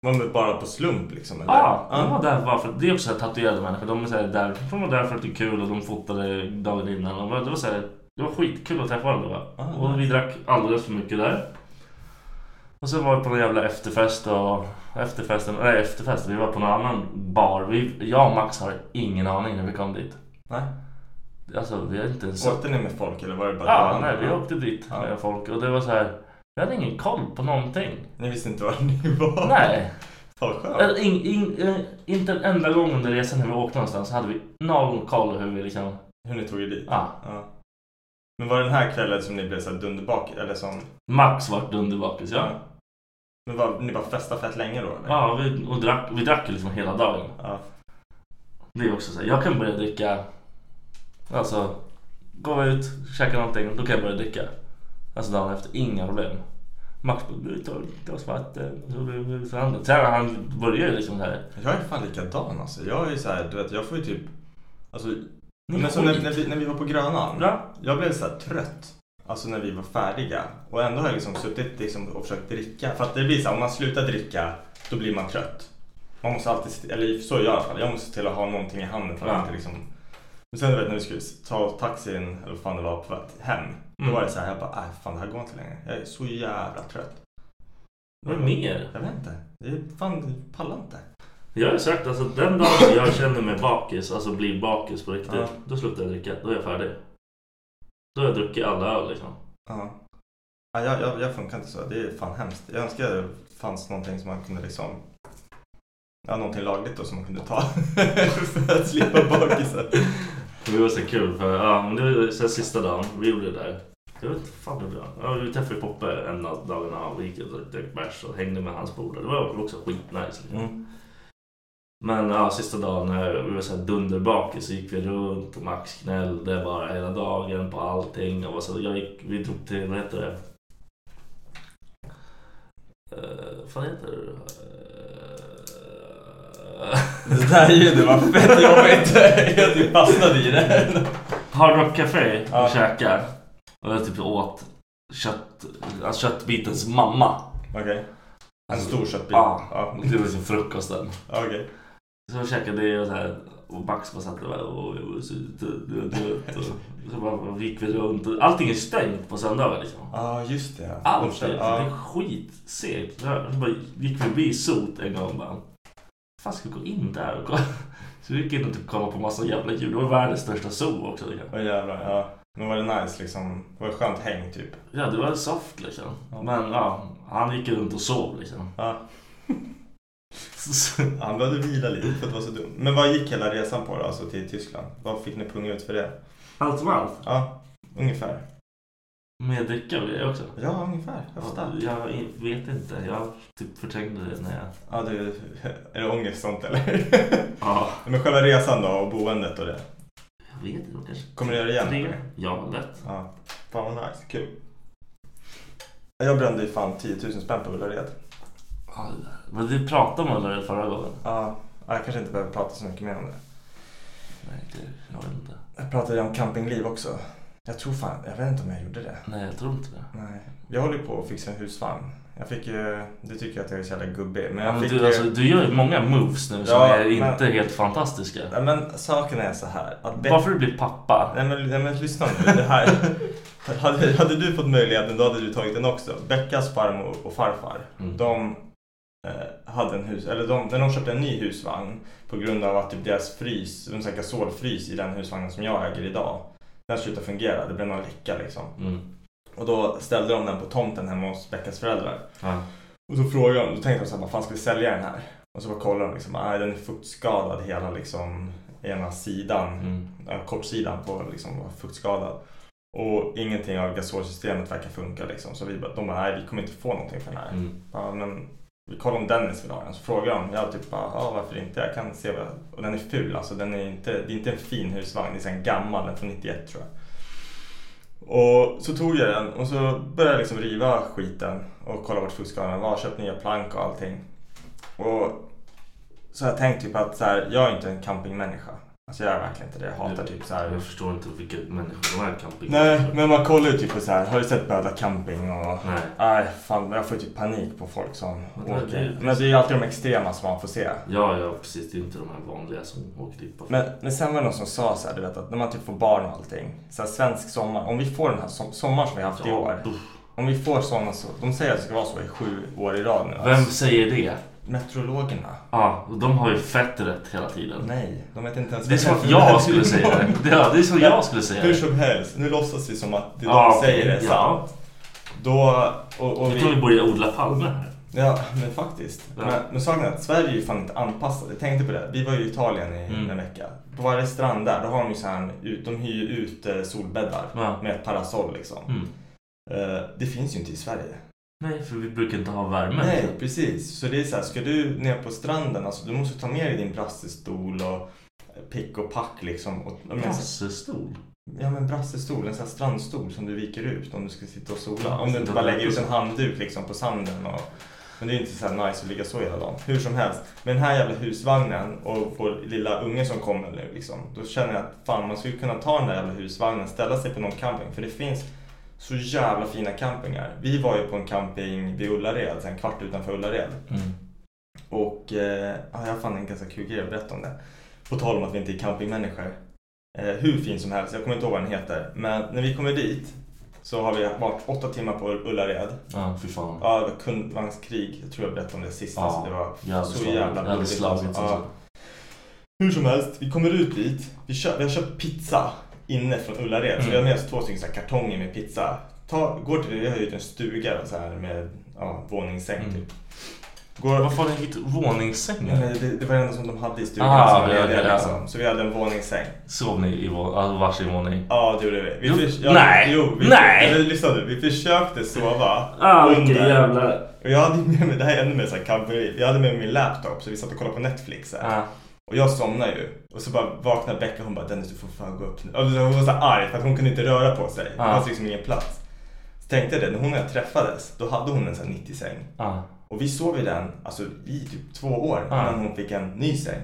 S3: Var man bara på slump liksom? Eller?
S2: Ja, de var där bara för det är också så här, tatuerade människor. De, är så här, där, de var där för att det är kul och de fotade dagen innan. Och det, var så här, det var skitkul att träffa varandra.
S3: Ah,
S2: och vi drack alldeles för mycket där. Och sen var vi på någon jävla efterfest och... Efterfesten, nej efterfesten, vi var på någon annan bar. Vi, jag och Max har ingen aning när vi kom dit.
S3: Nej.
S2: Alltså vi har inte ens...
S3: Åkte ni med folk eller var det bara
S2: Ja,
S3: du?
S2: nej vi åkte dit
S3: Ja.
S2: med folk och det var så här... Vi hade ingen koll på någonting.
S3: Ni visste inte var ni var?
S2: Nej.
S3: Fan vad skönt.
S2: Eller in, in, eh, inte en enda gång under resan när vi åkte någonstans hade vi noll koll hur vi liksom...
S3: Hur ni tog er dit?
S2: Ja.
S3: Men var det den här kvällen som ni blev så här dunderbak? Eller som...
S2: Max vart dunderbakis, ja.
S3: Men var, ni bara festade fett länge då eller?
S2: Ja, vi, och drack, vi drack ju liksom hela dagen.
S3: Ja.
S2: Det är också så här, jag kan börja dricka Alltså, går jag ut, käkar någonting, då kan jag börja dricka. Alltså dagen efter, inga problem. Max bara, du tar ett glas vatten. Så blir det så han- Sen han börjar ju liksom så här.
S3: Jag är fan likadan alltså. Jag är ju så här, du vet, jag får ju typ... Alltså,
S2: Ni
S3: men som när,
S2: skit.
S3: när, vi, när vi var på Grönan.
S2: Ja.
S3: Jag blev så här trött. Alltså när vi var färdiga. Och ändå har jag liksom suttit liksom, och försökt dricka. För att det blir så här, om man slutar dricka, då blir man trött. Man måste alltid, se- eller så gör jag i alla fall. Jag måste se till att ha någonting i handen för att
S2: Ja.
S3: inte liksom... Men sen du vet när vi skulle ta taxin, eller vad fan det var, på väg hem. Då
S2: Mm.
S3: var det så här, jag bara, äh, fan det här går inte längre. Jag är så jävla trött.
S2: Vad är det mer?
S3: Jag vet inte. Det är fan, det pallar inte.
S2: Jag har ju sagt alltså den dagen jag känner mig bakis, alltså blir bakis på riktigt.
S3: Ja.
S2: Då slutar jag dricka, då är jag färdig. Då har jag druckit alla öl liksom.
S3: Ja. Ja, jag, jag, jag funkar inte så. Det är fan hemskt. Jag önskar att det fanns någonting som man kunde liksom... Ja, någonting lagligt då som man kunde ta. för att slippa bakisen.
S2: Det var så kul för ja, men det var så här sista dagen vi gjorde det där. Jag vet inte fan det var. Ja, vi träffade Poppe en av dagarna han gick ut och drack bärs och hängde med hans polare. Det var också skitnice. Liksom. Men ja, sista dagen när vi var så här dunderbakis så gick vi runt och Max gnällde bara hela dagen på allting. Och så jag gick, vi drog till, vad heter det? Uh, vad fan heter det? Eh,
S3: Det där ljudet var fett jobbigt. jag typ fastnade i det.
S2: Hard Rock Café och
S3: Ja.
S2: käkar. Och jag typ åt kött, alltså köttbitens mamma. Alltså,
S3: Okej. En stor köttbit.
S2: Ja.
S3: Ja.
S2: Och det var liksom frukosten.
S3: Ja, Okej.
S2: Så jag käkade det och så här. Och Max bara satt där och jag var så trött, jag var trött. Och Så bara gick vi runt. och- Allting är stängt på söndagar liksom.
S3: Ja, just det.
S2: Allt är, det är
S3: Ja.
S2: skitsegt. Så här, så bara gick vi förbi Sot en gång bara. Fan ska vi gå in där och kolla? Så vi gick in och typ kollade på massa jävla djur. Det var världens största zoo också. Liksom.
S3: Åh jävlar. Ja. Men var det nice liksom? Var det skönt häng typ?
S2: Ja, det var soft liksom. Men ja, han gick runt och sov liksom.
S3: Ja.
S2: Så- så-
S3: Han behövde vila lite för att vara så dum. Men vad gick hela resan på då? Alltså till Tyskland? Vad fick ni punga ut för det?
S2: Allt som allt.
S3: Ja, ungefär.
S2: Med dricka blir det också.
S3: Ja, ungefär. Jag fattar.
S2: Jag vet inte. Jag typ förträngde det när jag...
S3: Ja, det är, är det ångest sånt eller?
S2: Ja.
S3: Men själva resan då och boendet och det?
S2: Jag vet inte. Kanske
S3: Kommer du göra det igen?
S2: tre.
S3: eller?
S2: Ja, lätt.
S3: Ja. Fan vad nice, kul. Jag brände ju fan 10 000 spänn på Ullared.
S2: Ja, Men vi pratade om det förra gången.
S3: Ja, jag kanske inte behöver prata så mycket mer om det.
S2: Nej, det, jag vet inte.
S3: Jag pratade ju om campingliv också. Jag tror fan, jag vet inte om jag gjorde det.
S2: Nej, jag tror inte det.
S3: Nej. Jag håller ju på att fixa en husvagn. Jag fick ju, du tycker att jag är så jävla gubbig. Men
S2: Ja,
S3: jag
S2: men
S3: fick
S2: du,
S3: ju...
S2: alltså, du gör ju många moves nu som
S3: Ja,
S2: är
S3: men-
S2: inte helt fantastiska.
S3: Nej, men saken är så här. Att bättre-
S2: Bara för att du blir pappa.
S3: Nej men, nej, men lyssna nu. Det här. Hade, hade du fått möjligheten då hade du tagit den också. Beckas farmor och farfar.
S2: Mm.
S3: De eh, hade en hus, eller de, när de köpte en ny husvagn på grund av att typ deras frys, en sån här gasolfrys i den husvagnen som jag äger idag. Den slutade fungera, det blev någon läcka liksom.
S2: Mm.
S3: Och då ställde de den på tomten hemma hos Beckas föräldrar.
S2: Ja.
S3: Och så frågade de, då tänkte de så här, vad fan ska vi sälja den här? Och så bara kollade de liksom, nej den är fuktskadad hela liksom ena sidan
S2: Mm.
S3: ja, kortsidan på liksom var fuktskadad. Och ingenting av gasolsystemet verkar funka liksom. Så vi bara, de bara, nej vi kommer inte få någonting för den här.
S2: Mm.
S3: Ja, men vi kollar om Dennis vill ha den. Så frågar de, jag typ bara, ja varför inte? Jag kan se vad jag... Och den är ful alltså. Den är inte, det är inte en fin husvagn. Det är så en gammal, den är från 91 tror jag. Och så tog jag den och så började jag liksom riva skiten och kolla vart fuktskadan var. Köpte nya plank och allting. Och så har jag tänkt typ att så här, jag är inte en campingmänniska. Alltså jag är verkligen inte det. Jag hatar typ så här
S2: Jag förstår inte vilka människor de här camping
S3: Nej, men man kollar ju typ på så här. Har du sett Böda camping? Och...
S2: Nej.
S3: Nej, fan. Jag får ju typ panik på folk som
S2: Men det-
S3: åker.
S2: det-
S3: Men det är ju alltid de extrema som man får se.
S2: Ja, ja precis. Det är inte de här vanliga som åker dit bara.
S3: Men, men sen var det någon som sa så här, du vet att när man typ får barn och allting. Så här, svensk sommar. Om vi får den här som, sommaren som vi har haft i
S2: Ja,
S3: år.
S2: uff.
S3: Om vi får sådana så. De säger att det ska vara så i sju år i rad nu.
S2: Vem
S3: Alltså,
S2: säger det?
S3: Meteorologerna?
S2: Ja, och de har ju fett rätt hela tiden.
S3: Nej, de vet inte ens
S2: Det är som
S3: vad
S2: att jag skulle säga det. det. Ja, det är som jag skulle säga
S3: Hur
S2: det.
S3: som helst, nu låtsas vi som att det de
S2: Ja,
S3: säger är
S2: ja.
S3: sant. Då, och, och
S2: Jag tror vi borde odla palmer här.
S3: Ja, men faktiskt.
S2: Ja.
S3: Men, men saken är att Sverige är ju fan inte anpassat. Jag tänkte på det. Vi var ju i Italien i
S2: Mm.
S3: en vecka. På varje strand där, då har de ju så här, ut, de hyr ju ut eh, solbäddar
S2: Ja.
S3: med ett parasoll liksom.
S2: Mm.
S3: Eh, det finns ju inte i Sverige.
S2: Nej, för vi brukar inte ha värme.
S3: Nej, precis. Så det är så här, ska du ner på stranden, alltså du måste ta med dig din brassestol och pick och pack liksom. Och, ja, men-
S2: Brassestol?
S3: Ja men brassestol, en sån här strandstol som du viker ut om du ska sitta och sola. Om du inte bara lägger ut en handduk liksom på sanden. Och... Men det är ju inte så här nice att ligga så hela dagen. Hur som helst, med den här jävla husvagnen och vår lilla unge som kommer nu liksom. Då känner jag att fan man skulle kunna ta den där jävla husvagnen, ställa sig på någon camping. För det finns så jävla fina campingar. Vi var ju på en camping vid Ullared, så här en kvart utanför Ullared.
S2: Mm.
S3: Och eh, ja, jag fann en ganska kul grej att berätta om det. På tal om att vi inte är campingmänniskor. Eh, hur fin som helst, jag kommer inte ihåg vad den heter. Men när vi kommer dit så har vi varit åtta timmar på Ullared.
S2: Ja, fy fan.
S3: Ja, det var kundvagnskrig. Jag tror jag berättade om det sist.
S2: Ja,
S3: alltså, det var
S2: jävligt
S3: så
S2: slarvigt.
S3: jävla
S2: Jävligt
S3: blodigt.
S2: slarvigt,
S3: Alltså.
S2: alltså.
S3: Ja. Hur som helst, vi kommer ut dit. Vi, kö- vi har köpt pizza inne från Ullared. Så vi har med oss två stycken så här kartonger med pizza. Ta, går till, vi har ju en stuga så här med ja, våningssäng typ. Går,
S2: Vad fan har ni hittat våningssängar?
S3: Nej, det, det var det enda som de hade i stugan
S2: Ah,
S3: som var
S2: ja,
S3: lediga,
S2: ja, ja.
S3: liksom. Så vi hade en våningssäng.
S2: Sov ni i vå- alltså varsin våning?
S3: Ja, det gjorde vi. vi
S2: Jo,
S3: förs- ja,
S2: nej,
S3: Jo, vi,
S2: nej.
S3: Eller, lyssna nu. Vi försökte sova
S2: Ah, vilken
S3: under.
S2: jävla...
S3: Och jag hade med mig, det här är ännu mer så här camperi. Jag hade med mig min laptop så vi satt och kollade på Netflix. Så här.
S2: Ah.
S3: Och jag somnade ju. Och så bara vaknar Becka och hon bara Dennis du får fan gå upp nu. Alltså, hon var så här arg för att hon kunde inte röra på sig. Det
S2: Ja.
S3: fanns liksom ingen plats. Så tänkte jag det, när hon och jag träffades då hade hon en sån här 90-säng.
S2: Ah.
S3: Och vi sov i den alltså, i typ två år
S2: Ja.
S3: innan hon fick en ny säng.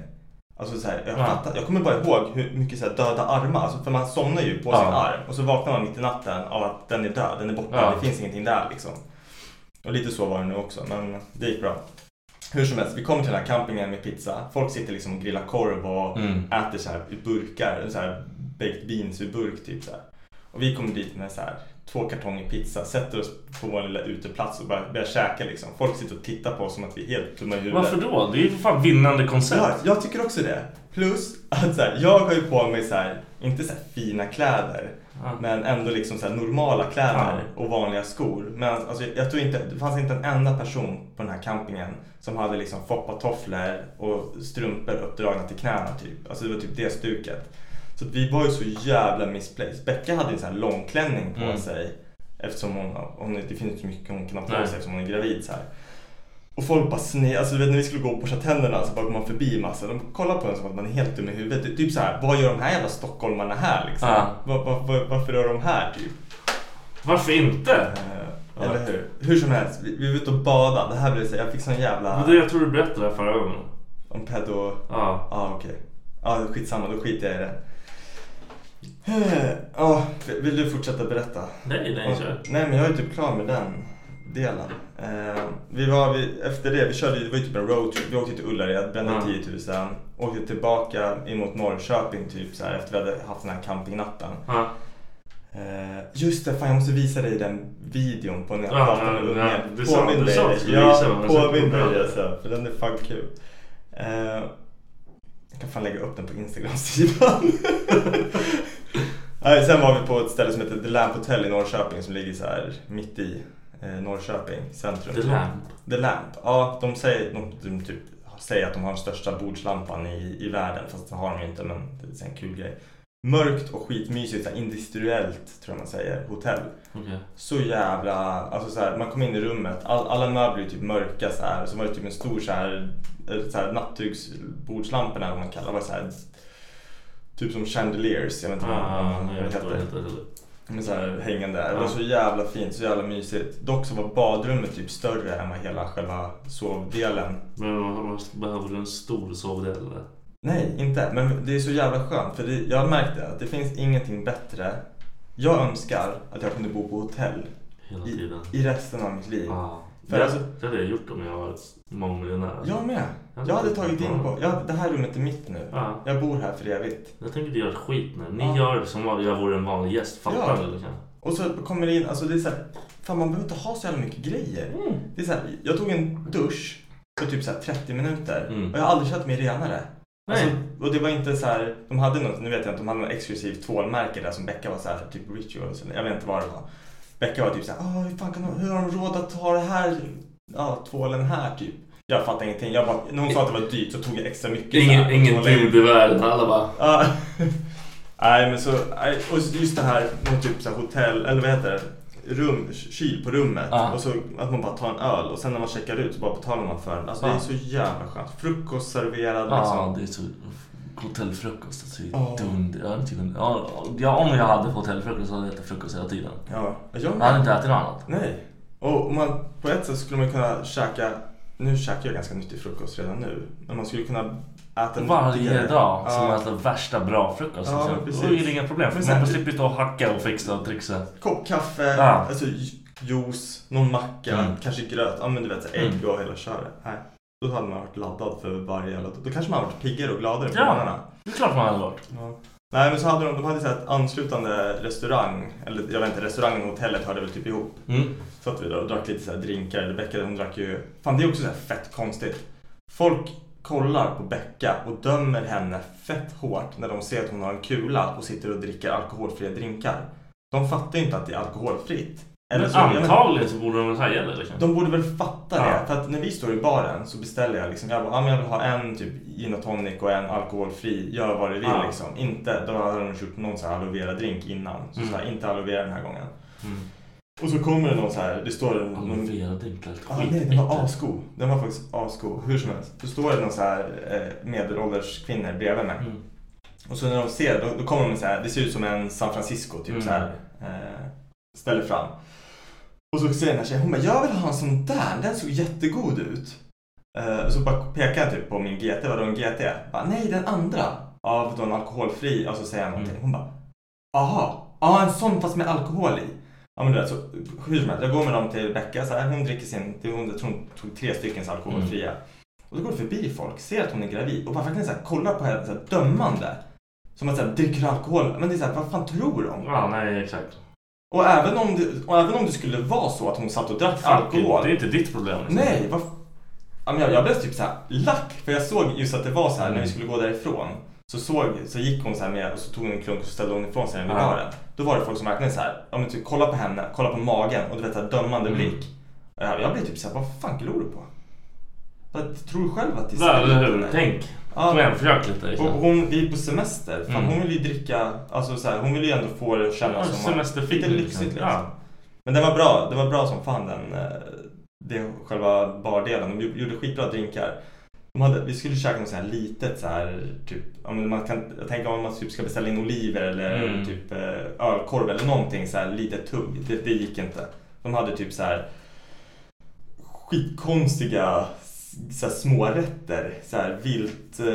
S3: Alltså så här, jag,
S2: Ja.
S3: fattar, jag kommer bara ihåg hur mycket så här, döda armar, alltså, för man somnar ju på
S2: Ja.
S3: sin arm och så vaknar man mitt i natten av att den är död, den är borta,
S2: Ja.
S3: det finns ingenting där liksom. Och lite så var det nu också, men det gick bra. Hur som helst, vi kommer till den här campingen med pizza. Folk sitter liksom och grillar korv och
S2: Mm.
S3: äter så här ur burkar, så här baked beans ur burk typ så här. Och vi kommer dit med så här två kartonger pizza, sätter oss på vår lilla uteplats och bara börjar käka liksom. Folk sitter och tittar på oss som att vi är helt dumma i huvudet.
S2: Varför då? Det är ju för fan vinnande
S3: Ja,
S2: koncept.
S3: jag tycker också det. Plus att så här, jag har ju på mig så här, inte så här fina kläder, men ändå liksom så här normala kläder och vanliga skor. Men alltså, jag, jag tror inte, det fanns inte en enda person på den här campingen som hade liksom foppatofflor och strumpor uppdragna till knäna typ. Alltså det var typ det stuket. Så att vi var ju så jävla misplaced. Becka hade ju en sån här långklänning på
S2: Mm.
S3: sig eftersom hon, hon, det finns inte så mycket hon kan ha på sig
S2: Nej.
S3: eftersom hon är gravid så här. Och folk bara sne, alltså du vet när vi skulle gå och borsta tänderna så bara går man förbi massa. De kollar på en som att man är helt dum i huvudet. Det är Typ så här, vad gör de här jävla stockholmarna här liksom?
S2: Ja.
S3: Va, va, va, varför är de här typ?
S2: Varför inte?
S3: Eh, Eller hur? Hur som helst, vi, vi var ute och badade. Det här blev så, jag fick sån jävla...
S2: Men det, jag tror du berättade det här förra gången.
S3: Om pedo...
S2: Ja.
S3: Ja, ah, okej. Ja, ah, skitsamma, då skiter jag i det. Eh, Ja, vill du fortsätta berätta?
S2: Nej, nej, kör.
S3: Nej, men jag är typ klar med den delen. Eh, vi var, vi, efter det, vi körde, ju- det var ju typ en roadtrip. Vi åkte till Ullared, brände
S2: Ja.
S3: 10 000. Åkte tillbaka emot Norrköping typ så här, efter vi hade haft den här campingnatten.
S2: Ja.
S3: Eh, just det, fan jag måste visa dig den videon på när jag
S2: Ja,
S3: pratade
S2: ja,
S3: med
S2: ja,
S3: ungen.
S2: du sa-
S3: Påminn
S2: du
S3: dig
S2: sa
S3: det.
S2: att du skulle visa
S3: Ja,
S2: den, men sen
S3: påminn
S2: kom
S3: dig
S2: jag.
S3: det. så, För den är fan kul. Eh, jag kan fan lägga upp den på Instagram-sidan. Nej, Sen var vi på ett ställe som heter The Lamp Hotel i Norrköping som ligger så här mitt i eh, Norrköping centrum.
S2: The Lamp?
S3: The Lamp. Ja, de säger, de, de typ, säger att de har den största bordslampan i, i världen. Fast det har de ju inte, men det är så här en kul grej. Mörkt och skitmysigt, så här industriellt tror jag man säger, hotell.
S2: Okej.
S3: Så jävla, alltså så här, man kom in i rummet, all, alla möbler är typ mörka så här. Så var det typ en stor så här, eh, så här nattugsbordslampa eller vad man kallar det. var så här, typ som chandeliers, jag vet inte
S2: Ah,
S3: vad
S2: ah,
S3: man-
S2: nej, jag
S3: vad det
S2: vet inte vad
S3: heter.
S2: det heter. heller.
S3: Men så här, hängande. Det var
S2: Ja.
S3: så jävla fint, så jävla mysigt. Dock så var badrummet typ större än vad hela själva sovdelen.
S2: Men vad- vad- behöver du en stor sovdel eller?
S3: Nej, inte. Men det är så jävla skönt. För det, jag märkte att det finns ingenting bättre. Jag önskar att jag kunde bo på hotell
S2: Hela
S3: i,
S2: tiden.
S3: i resten av mitt liv.
S2: Ja.
S3: För
S2: Det,
S3: alltså-
S2: det hade jag gjort om jag var mångmiljonär.
S3: Jag med. Jag hade tagit in på... Jag, det här rummet är mitt nu.
S2: Ja.
S3: Jag bor här för evigt.
S2: Jag tänker inte göra ett skit nu. Ni
S3: Ja.
S2: gör som om jag vore en vanlig gäst. Fattar
S3: Ja.
S2: du? Liksom?
S3: Och så kommer det in... Alltså det är så här, Fan, man behöver inte ha så jävla mycket grejer.
S2: Mm.
S3: Det är så här, jag tog en dusch på typ så här 30 minuter
S2: Mm.
S3: och jag har aldrig känt mig renare.
S2: Nej.
S3: Alltså, och det var inte så här, de hade något, nu vet jag inte, de hade något exklusivt tvålmärke där som Becka var så här, typ rituals, eller jag vet inte vad det var. Becka var typ så här, "Ah, hur, fan kan de, hur har de råd att ha det här, ja, tvålen här typ? Jag fattar ingenting. Jag bara, när hon sa att det var dyrt så tog jag extra mycket. så här,
S2: Ingen,
S3: och
S2: ingen
S3: tvålade in.
S2: dude i världen. Alla bara...
S3: Ja. Ah. Nej men så, nej, och just det här med typ så här hotell, eller vad heter det? Rum, kyl på rummet
S2: Ja.
S3: och så att man bara tar en öl och sen när man
S2: Ah.
S3: checkar ut så bara betalar man för den. Alltså
S2: Ja. Ah.
S3: det är så jävla skönt. Frukost serverad
S2: Ja,
S3: liksom.
S2: det är så hotellfrukost. Alltså, det är dunder. Jag hade inte kunnat- ja, ja, om jag hade fått hotellfrukost så hade jag ätit frukost hela tiden.
S3: Ja, jag
S2: Jag hade inte ätit något annat.
S3: Nej. Och man, på ett sätt skulle man kunna käka, nu käkar jag ganska nyttig frukost redan nu, men man skulle kunna äta
S2: Varje
S3: nyttigare.
S2: dag så man
S3: Ja,
S2: äter värsta bra frukost.
S3: Ja,
S2: liksom.
S3: men precis.
S2: Då är det inga problem. För
S3: Men
S2: man
S3: sen-
S2: slipper stå och hacka och fixa och trixa.
S3: kopp kaffe,
S2: Ja.
S3: alltså ju- juice, någon macka,
S2: Mm.
S3: kanske gröt, ja men du vet så här, ägg och hela köret. Nej. Då hade man varit laddad för varje jävla Då kanske man hade varit piggare och gladare på
S2: Ja.
S3: morgnarna.
S2: Det är klart man hade varit.
S3: Ja. Nej men så hade de, de hade så här ett anslutande restaurang, eller jag vet inte, restaurangen och hotellet hörde väl typ ihop.
S2: Mm.
S3: Så att vi då och drack lite så här drinkar, eller Becka hon drack ju, fan det är också så här fett konstigt. Folk kollar på Becka och dömer henne fett hårt när de ser att hon har en kula och sitter och dricker alkoholfria drinkar. De fattar ju inte att det är alkoholfritt. Eller
S2: Men
S3: så- jag vet inte.
S2: antagligen så borde de säga det. Liksom.
S3: De borde väl fatta
S2: Ja.
S3: det. För att när vi står i baren så beställer jag liksom. Jag, bara, ah, men jag vill ha en typ gin och tonic och en alkoholfri. Gör vad du vill
S2: Ja.
S3: liksom. Inte, då hade de gjort någon så här aloe vera drink innan. Så,
S2: Mm.
S3: så här, inte aloe vera den här gången. Och så kommer det någon så här. Det står en...
S2: Aloe
S3: någon-
S2: vera drinkar helt
S3: Ah, nej, den var
S2: skitäckligt.
S3: asgo. Den var faktiskt asgo. Hur som helst. Då står det någon så här eh, medelålders kvinnor bredvid mig.
S2: Mm.
S3: Och så när de ser, då, då kommer de så här, det ser ut som en San Francisco typ
S2: Mm.
S3: så här, eh, ställer fram. Och så säger den här tjejen, hon bara, jag vill ha en sån där, den såg jättegod ut. Eh, och så bara pekar jag typ på min GT, vadå en GT? Bara, nej den andra. Ja, för då är den alkoholfri. Och så säger jag någonting.
S2: Mm.
S3: Hon bara, aha, ja en sån fast med alkohol i. Ja men du vet, så hur som helst, jag går med dem till Becka, så här, hon dricker sin, det- hon, jag tror hon tog tre stycken så här alkoholfria.
S2: Mm.
S3: Och då går det förbi folk, ser att hon är gravid och bara verkligen så här, kollar på henne så här, dömande. Som att så här, dricker du alkohol? Men det är så här, vad fan tror de?
S2: Ja, nej exakt.
S3: Och även om det, och även om det skulle vara så att hon satt och drack
S2: Alkohol.
S3: alkohol.
S2: Det är inte ditt problem. Liksom.
S3: Nej, vad... Ja, men jag, jag blev typ så här lack för jag såg just att det var så här när vi skulle gå därifrån. Så, såg, så gick hon så här med och så tog hon en klunk och så ställde hon ifrån sig den vid
S2: Ja.
S3: baren. Då var det folk som verkligen så här, ja men typ kolla på henne, kolla på magen och du vet så här dömande
S2: Mm.
S3: blick. Ja, Jag blev typ så här, vad fan glor du på? Jag tror själv att det
S2: Ja, eller
S3: sprit,
S2: hur?
S3: eller?
S2: Tänk.
S3: Ja.
S2: Kom igen, försök lite. Liksom.
S3: Och hon, vi är på semester. Fan,
S2: Mm.
S3: Hon vill ju dricka, alltså så här, hon vill ju ändå få det att kännas
S2: Ja,
S3: som
S2: semesterfeeling,
S3: lite lyxigt
S2: liksom.
S3: liksom.
S2: Ja.
S3: Men det var bra, det var bra som fan den, eh, det, själva bardelen. De gjorde skitbra drinkar. De hade, vi skulle käka något så här litet så här, typ, ja, men man kan, jag tänker om man typ ska beställa in oliver eller
S2: Mm.
S3: typ eh, ölkorv eller någonting så här litet tugg. Det, det gick inte. De hade typ så här skitkonstiga så här, smårätter. Så här, vilt... Eh,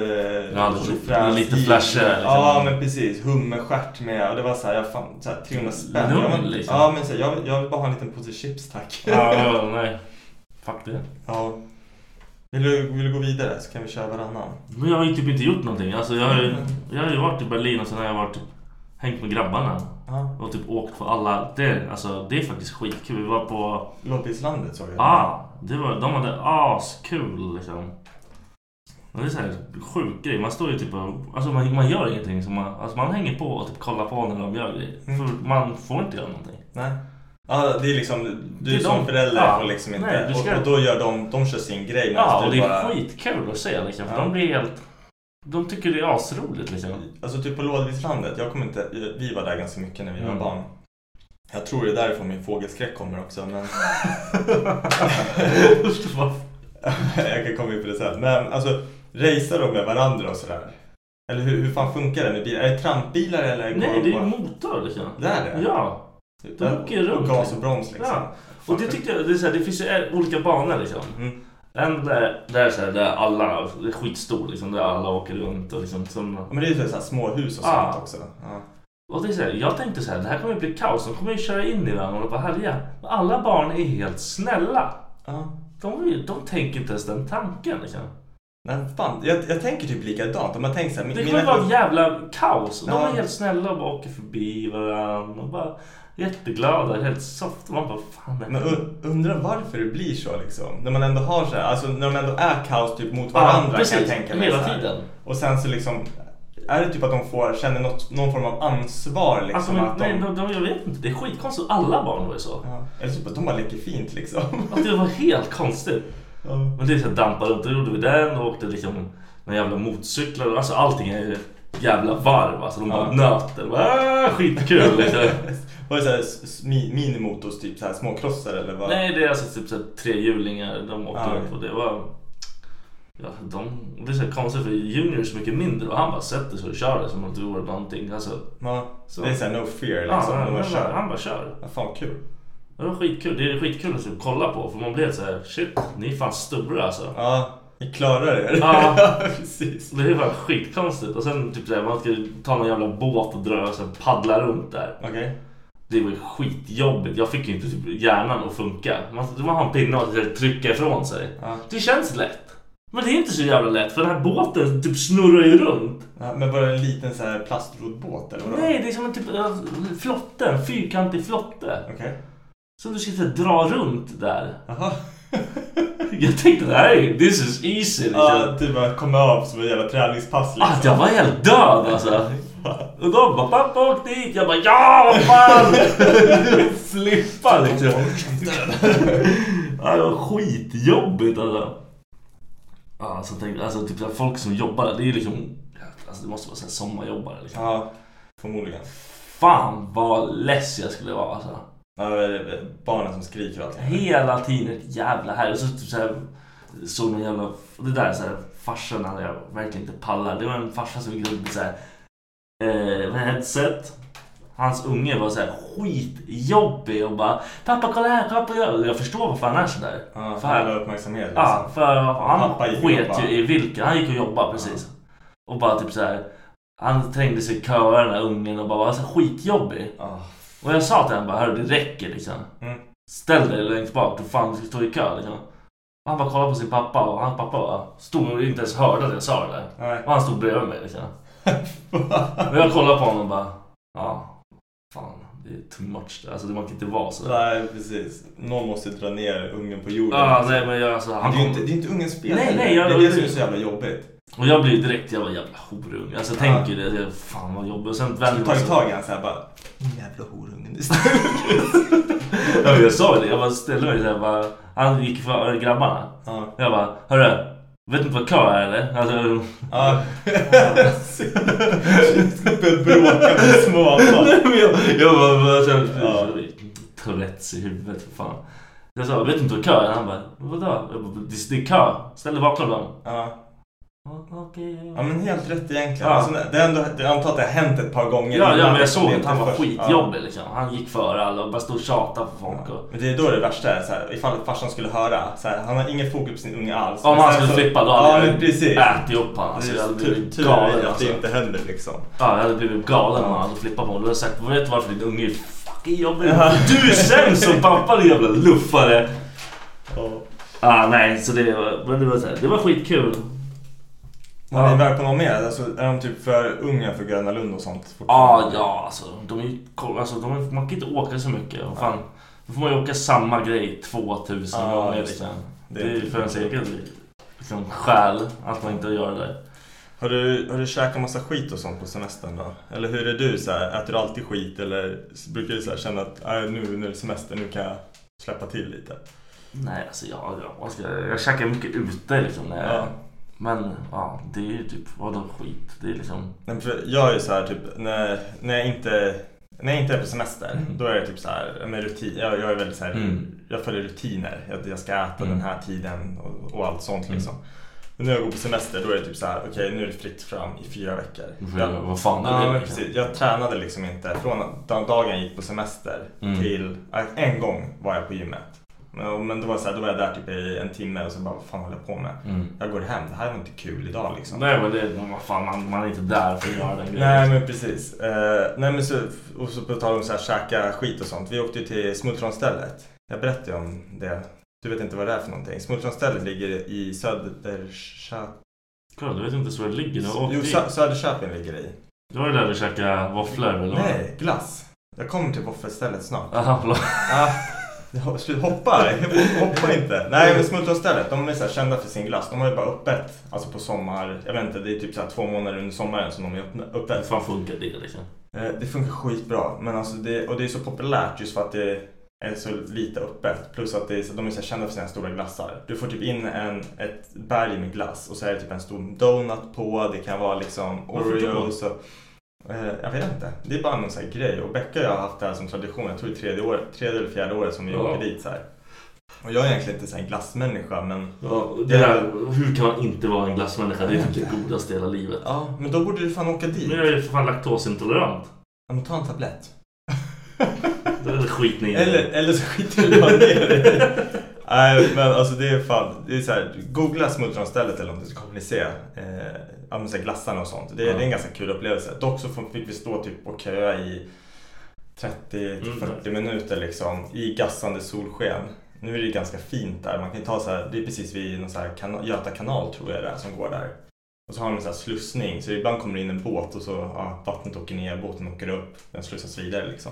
S2: Ja, det-
S3: tjofräs,
S2: typ lite
S3: gill.
S2: flashigare, liksom.
S3: Ja, men precis. Hummerstjärt med. Och det var så här, jag fan, så här 300 spänn.
S2: Lugn,
S3: jag, var-
S2: liksom.
S3: Ja, men så här, jag, vill- jag vill bara ha en liten påse chips tack.
S2: Ja, ja, nej. Fuck det.
S3: Ja. Vill du, vill du gå vidare så kan vi köra varannan.
S2: Men jag har ju typ inte gjort någonting. Alltså, jag, har ju, jag har ju varit i Berlin och sen har jag varit, hängt med grabbarna.
S3: Ja.
S2: Och typ åkt på alla. Det, alltså, det är faktiskt skitkul. Vi var på...
S3: Loppislandet såg jag.
S2: Ah, det var, de hade askul liksom. Och det är så här sjuk grej. Man står ju typ och... Alltså man, man gör ingenting. Så man, alltså, man hänger på och typ kollar på när de gör grejer.
S3: Mm.
S2: För man får inte göra någonting.
S3: Nej. Ja, det är liksom,
S2: Det
S3: du
S2: är
S3: som
S2: de-
S3: förälder
S2: ja.
S3: får liksom inte...
S2: Nej, du ska-
S3: och, och då gör de, de kör sin grej. medan
S2: Ja,
S3: Alltså, du
S2: och det är
S3: bara-
S2: skitkul att se liksom. För
S3: Ja.
S2: de blir helt... De tycker det är asroligt liksom.
S3: Alltså typ på Lådvikslandet, jag kommer inte, vi var där ganska mycket när vi
S2: Mm.
S3: var barn. Jag tror det är därifrån min fågelskräck kommer också men jag kan komma in på det sen. Men alltså, racear de med varandra och sådär? Eller hur, hur fan funkar det med bilar? Är det trampbilar eller? går
S2: Nej, det
S3: de
S2: är
S3: bara-
S2: ju motor liksom.
S3: Det är det?
S2: Ja. de åker
S3: Och
S2: runt.
S3: Gas och broms liksom?
S2: ja. Och det tyckte jag, det, är så här, det finns ju olika banor liksom.
S3: Mm.
S2: En där, där, så här, där alla, det är skitstor liksom, där alla åker runt och liksom som,
S3: Ja, men det är ju sådär småhus och
S2: Ja.
S3: sånt också. Ja.
S2: Och det är så här, jag tänkte så här, det här kommer ju bli kaos, de kommer ju köra in i varandra och bara härja. Men alla barn är helt snälla.
S3: Ja.
S2: De, är ju- de tänker inte ens den tanken liksom.
S3: Nej, fan. Jag, jag tänker typ likadant. Om jag tänker såhär...
S2: Det kommer vara ett jävla kaos. Och de
S3: Ja.
S2: är helt snälla och bara åker förbi varandra och bara jätteglada, helt soft. Och man bara, fan det här
S3: Men u- undrar varför det blir så liksom. När man ändå har så här, alltså när de ändå är kaos typ mot
S2: Ja,
S3: varandra
S2: precis.
S3: kan jag tänka mig.
S2: Hela
S3: så här.
S2: tiden.
S3: Och sen så liksom, är det typ att de får, känner något, någon form av ansvar liksom?
S2: Alltså, men,
S3: att de,
S2: nej, de, de, jag vet inte. Det är skitkonstigt. Alla barn var ju så.
S3: ja. Eller så att de bara leker fint liksom.
S2: Att det var helt konstigt.
S3: Ja.
S2: Men det är så här dampa runt. Då gjorde vi den och åkte liksom några jävla motorcyklar. Alltså allting är ju jävla varv. Alltså de bara
S3: Ja.
S2: nöter. Bara, "Ah, skitkul liksom.
S3: Var det såhär minimotors, typ såhär småkrossar eller vad? Ah,
S2: Nej det är alltså typ så här trehjulingar de åkte
S3: Ja,
S2: runt på. Det var... Ja, de, det är så här konstigt för Junior är så mycket mindre och han bara sätter sig och kör det som om det vore någonting. Alltså,
S3: Ja,
S2: Så.
S3: Det är såhär no fear
S2: ja,
S3: liksom.
S2: han,
S3: när man
S2: han,
S3: kör.
S2: han bara kör.
S3: Ja, fan kul.
S2: Det var skitkul. Det är skitkul att typ kolla på för man blir så här shit, ni är fan stora alltså.
S3: Ja, ni klarar er.
S2: Ja.
S3: precis.
S2: Det är fan skitkonstigt. Och sen typ såhär, man ska ta någon jävla båt och dra och sen paddla runt där.
S3: Okej.
S2: Det var ju skitjobbigt. Jag fick ju inte typ hjärnan att funka. Man, man har en pinne och så här trycka ifrån sig. Det känns lätt. Men det är inte så jävla lätt för den här båten typ snurrar ju runt.
S3: Ja, men var det en liten så här plastroddbåt eller vadå?
S2: Nej, det är som en typ av flotte. En fyrkantig flotte.
S3: Okej.
S2: Som du ska så här, dra runt där.
S3: Jaha.
S2: Jag tänkte det här är this is easy. Liksom.
S3: Ja, typ bara komma av som ett jävla träningspass liksom.
S2: Att Ah, jag var helt död alltså. Och de bara pappa åk dit. Jag bara ja vad fan. Flippa liksom. Ja, det var skitjobbigt alltså. Ja, Alltså, tänk, alltså typ så här, folk som jobbar där, det är ju liksom... Alltså det måste vara så här sommarjobbare liksom.
S3: Ja, förmodligen.
S2: Fan vad less jag skulle vara alltså.
S3: Ja, det är barnen som skriker och allting.
S2: Hela tiden ett jävla här. Och så typ så här, såg någon jävla... och Det där så här, farsan hade jag verkligen inte pallat. Det var en farsa som gick runt med så här, eh, med headset. Hans unge var så här skitjobbig och bara Pappa kolla här, pappa jag... Jag förstår varför han är sådär.
S3: Ja,
S2: för
S3: för
S2: här-
S3: alla uppmärksamhet liksom.
S2: Ja, för han
S3: Pappa gick och
S2: sket
S3: jobbade.
S2: ju i vilka. Han gick och jobbade precis. Och bara typ så här. Han trängde sig i köer den där ungen och bara var så här skitjobbig.
S3: Ja.
S2: Och jag sa till honom bara, hörru det räcker liksom.
S3: Mm.
S2: Ställ dig längst bak, du fan du ska stå i kö liksom. Och han bara kollade på sin pappa och hans pappa bara stod och inte ens hörde att jag sa det där.
S3: Nej.
S2: Och han stod bredvid mig liksom. Och jag kollade på honom och bara, ja, fan det är too much. Alltså man kan inte vara så.
S3: Nej, precis. Någon måste dra ner ungen på jorden.
S2: Ja, nej men jag alltså,
S3: Men
S2: han
S3: det är ju
S2: kom...
S3: inte, det är inte ungens fel.
S2: Nej,
S3: heller.
S2: nej, jag-
S3: det är det som är så jävla jobbigt.
S2: Och jag blir ju direkt, jag var jävla horunge. Alltså jag tänker det, jag, fan vad jobbigt. Och sen vänder
S3: Du
S2: man
S3: tar
S2: sig.
S3: tag i han såhär bara. Din jävla horunge. du står-"
S2: Ja, men jag sa ju det, jag bara ställde mig såhär bara. Han gick före grabbarna.
S3: Ja.
S2: Jag bara, hörru. Vet inte vad kö är eller? Alltså,
S3: Ja. Börjar bråka med småbarn.
S2: Men jag, jag bara, bara så,
S3: Ja.
S2: Tourettes i huvudet för fan. Jag sa, vet inte vad kö är? Han bara, vadå? Jag bara, det, det är kö. Ställ dig bakom dem.
S3: Ja.
S2: Ja, Okej.
S3: ja, men helt rätt egentligen.
S2: Ja.
S3: Alltså, det är ändå, jag antar att det har hänt ett par gånger.
S2: Ja, ja,
S3: innan.
S2: men jag såg
S3: Det är
S2: att han
S3: inte
S2: var
S3: först. Ja.
S2: skitjobbig liksom. Han gick före alla och bara stod och tjatade på folk. Och...
S3: Men det är då det värsta är, så här, ifall farsan skulle höra, så här, han har inget fokus på sin unge alls.
S2: Om
S3: Men
S2: han
S3: sen
S2: skulle
S3: så-
S2: flippa då
S3: Ja,
S2: hade
S3: men precis.
S2: ätit upp honom. Alltså, jag
S3: Det är
S2: hade
S3: tur,
S2: blivit
S3: tur är
S2: galen
S3: det att det
S2: alltså.
S3: inte händer liksom.
S2: Ja, jag hade blivit galen om han hade flippat på honom. Då hade jag sagt, vet du varför din unge är fucking jobbig? Du är sämst som pappa din jävla luffare!
S3: Ja.
S2: Ah, nej, så det, var- men det, var, så här, det var skitkul.
S3: Har
S2: Ja.
S3: ni väl på någon mer? Alltså, är de typ för unga för Gröna Lund och sånt?
S2: Ja,
S3: fortfarande?
S2: ja alltså, de är, ju- alltså de är, man kan inte åka så mycket. Och fan, då får man ju åka samma grej 2000
S3: Ja,
S2: gånger.
S3: just
S2: Liksom. Det
S3: det. Det
S2: är
S3: är typ-
S2: ju
S3: inte-
S2: för ens egen liksom, själ att man inte gör det där.
S3: Har du, har du käkat massa skit och sånt på semestern då? Eller hur är du? Så här, äter du alltid skit eller brukar du så här, känna att "Aj, nu när det är semester, nu kan jag släppa till lite?
S2: Nej, alltså jag, jag, vad ska jag, jag käkar mycket ute liksom. När jag,
S3: Ja.
S2: Men ja, det är ju typ, vadå skit? Det är liksom...
S3: Nej, för jag är ju så här, typ, när, när, jag inte, när jag inte är på semester, då är jag typ så här, med rutin. Jag, jag är väldigt så här,
S2: Mm.
S3: jag följer rutiner. Jag, jag ska äta
S2: Mm.
S3: den här tiden och, och allt sånt liksom. Men när jag går på semester, då är det typ så här, okej nu är det fritt fram i fyra veckor.
S2: Ja, vad fan är
S3: Ja,
S2: det?
S3: men precis. Jag tränade liksom inte. Från den dagen jag gick på semester
S2: Mm.
S3: till... äh, En gång var jag på gymmet. Men, men det var så här, då var jag där typ i en timme och så bara, vad fan håller jag på med?
S2: Mm.
S3: Jag går hem, det här var inte kul idag liksom.
S2: Nej men det är, vad fan, man, man är inte där för att göra den grejen.
S3: Nej men precis. Eh, nej men så, och så på tal om så här käka skit och sånt. Vi åkte ju till Smultronstället. Jag berättade ju om det. Du vet inte vad det är för någonting. Smultronstället ligger i Söderköping.
S2: Kolla, du vet inte så det ligger. Du har
S3: Jo,
S2: åkt dit.
S3: Sö- Söderköping ligger det i.
S2: Du var ju där vi käkade våfflor eller? vad?
S3: Nej, glass. Jag kommer till våffelstället snart.
S2: Jaha, förlåt.
S3: Ah, ja, slut- hoppa, hoppa inte. Nej men Smultronstället, de är så här kända för sin glass. De har ju bara öppet, alltså på sommar, jag vet inte, det är typ så här två månader under sommaren som de är öppna-
S2: Hur
S3: öppet.
S2: fan funkar det liksom?
S3: Eh, Det funkar skitbra, men alltså det, och det är så populärt just för att det är så lite öppet. Plus att det är, så, de är så här kända för sina stora glassar. Du får typ in en, ett berg med glass och så är det typ en stor donut på, det kan vara liksom
S2: Varför
S3: Oreos och Eh, Jag vet inte. Det är bara någon sån här grej. Och Becka och jag har haft det här som tradition. Jag tror det är tredje, året, tredje eller fjärde året som vi
S2: Ja.
S3: åker dit. Så här. Och jag är egentligen inte så här en glassmänniska men...
S2: Ja, det där, hur kan man inte vara en glassmänniska? Det är typ det godaste i hela livet.
S3: Ja, men då borde du fan åka dit.
S2: Men jag är ju för fan laktosintolerant.
S3: Ja, men ta en tablett.
S2: Det är skit ni i.
S3: Eller, eller så skiter du bara ner dig. Nej men alltså det är fan, det är så här, googla smultronstället eller någonting så kommer ni se eh, ja, men så här glassarna och sånt. Det, är- det är en ganska kul upplevelse. Dock så får- fick vi stå typ och köa i 30-40 minuter liksom i gassande solsken. Nu är det ganska fint där. Man kan ju ta så här, det är precis vid någon så här kanal, Göta kanal tror jag det är som går där. Och så har de en så här slussning så ibland kommer det in en båt och så ja, vattnet åker ner, båten åker upp, den slussas vidare liksom.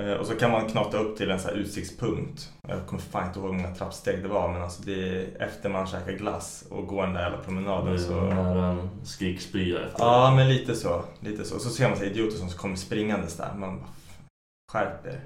S3: Eh, Och så kan man knata upp till en så här utsiktspunkt. Jag kommer fan inte ihåg hur många trappsteg det var men alltså det är efter man käkar glass och går den där jävla
S2: Det är
S3: promenaden
S2: så
S3: så...
S2: nära en skrikspya efter.
S3: Ja men lite så. Lite så. Och så ser man så här idioter som kommer springandes där. Man bara skärper.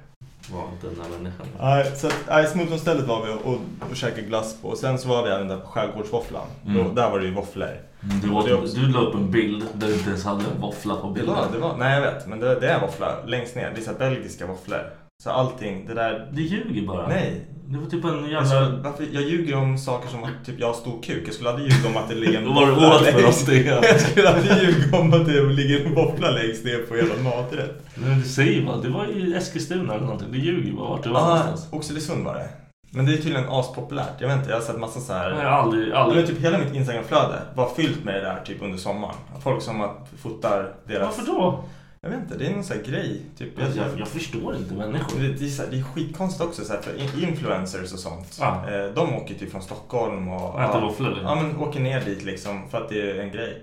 S2: Var inte den där människan.
S3: Nej, så att- nej, Smultronstället var vi och, och, och käkade glass på. Och sen så var vi även där på Skärgårdsvåfflan.
S2: Mm.
S3: Då- Där var det ju våfflor.
S2: Du,
S3: Det är också-
S2: åt, du la upp en bild där du inte ens hade en våffla på
S3: Det
S2: bilden.
S3: var, det var, nej jag vet, men det, det är våffla längst ner. Det är så här belgiska våfflor. Så allting, det där...
S2: Du ljuger bara.
S3: Nej, Alltså-
S2: Det var typ en
S3: Jag,
S2: jävla...
S3: skulle, varför, jag ljuger om saker som att typ, jag har stor kuk. Jag skulle aldrig ljuga om att det ligger en
S2: Då var det
S3: våffla
S2: åt för
S3: längst-
S2: oss det.
S3: Jag skulle aldrig ljuga om att det ligger en våffla längst ner på hela maträtt.
S2: Men du säger bara, det var i Eskilstuna eller någonting. Du ljuger bara vart du var
S3: Ja,
S2: någonstans.
S3: Ah, Oxelösund var det. Men det är tydligen aspopulärt. Jag vet inte, jag har sett massa så
S2: Jag
S3: här...
S2: har aldrig, aldrig...
S3: Men typ hela mitt instagramflöde var fyllt med det där typ under sommaren. Folk som att fotar deras...
S2: Varför då?
S3: Jag vet inte, det är någon sån här grej. Typ, jag,
S2: Jag, jag, jag förstår inte människor.
S3: Det, det, är så här, det är skitkonstigt också, så här, för in- influencers och sånt.
S2: Ja.
S3: Eh, de åker typ från Stockholm och,
S2: Och äter våfflor, liksom. eller?
S3: Ja, men åker ner dit liksom för att det är en grej.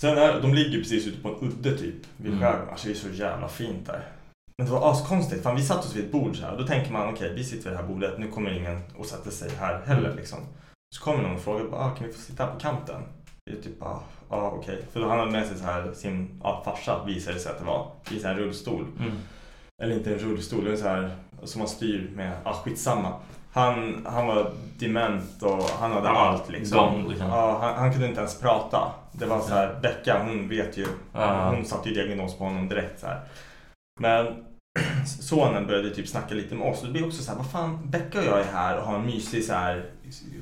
S3: Sen är, de ligger precis ute på en udde typ vid
S2: Mm.
S3: skärgården. Alltså det är så jävla fint där. Men det var askonstigt. Fan, vi satt oss vid ett bord så här. Då tänker man okej, vi sitter vid det här bordet. Nu kommer ingen och sätter sig här heller liksom. Så kommer någon och frågar bara, ah, kan vi få sitta här på kanten? Det är typ bara, ah, ah, okej. För då han hade med sig så här sin ah, farsa visade det sig att det var. I så här rullstol.
S2: Mm.
S3: Eller inte en rullstol, det är så här som man styr med, ah skitsamma. Han, han var dement och han hade
S2: Ja,
S3: allt liksom.
S2: gone, liksom.
S3: Ja, han, han kunde inte ens prata. Det var så här, Becka hon vet ju.
S2: Ja.
S3: Hon satte ju diagnos på honom direkt så här. Men sonen började typ snacka lite med oss och det blir också så här, vad fan, Becka och jag är här och har en mysig så här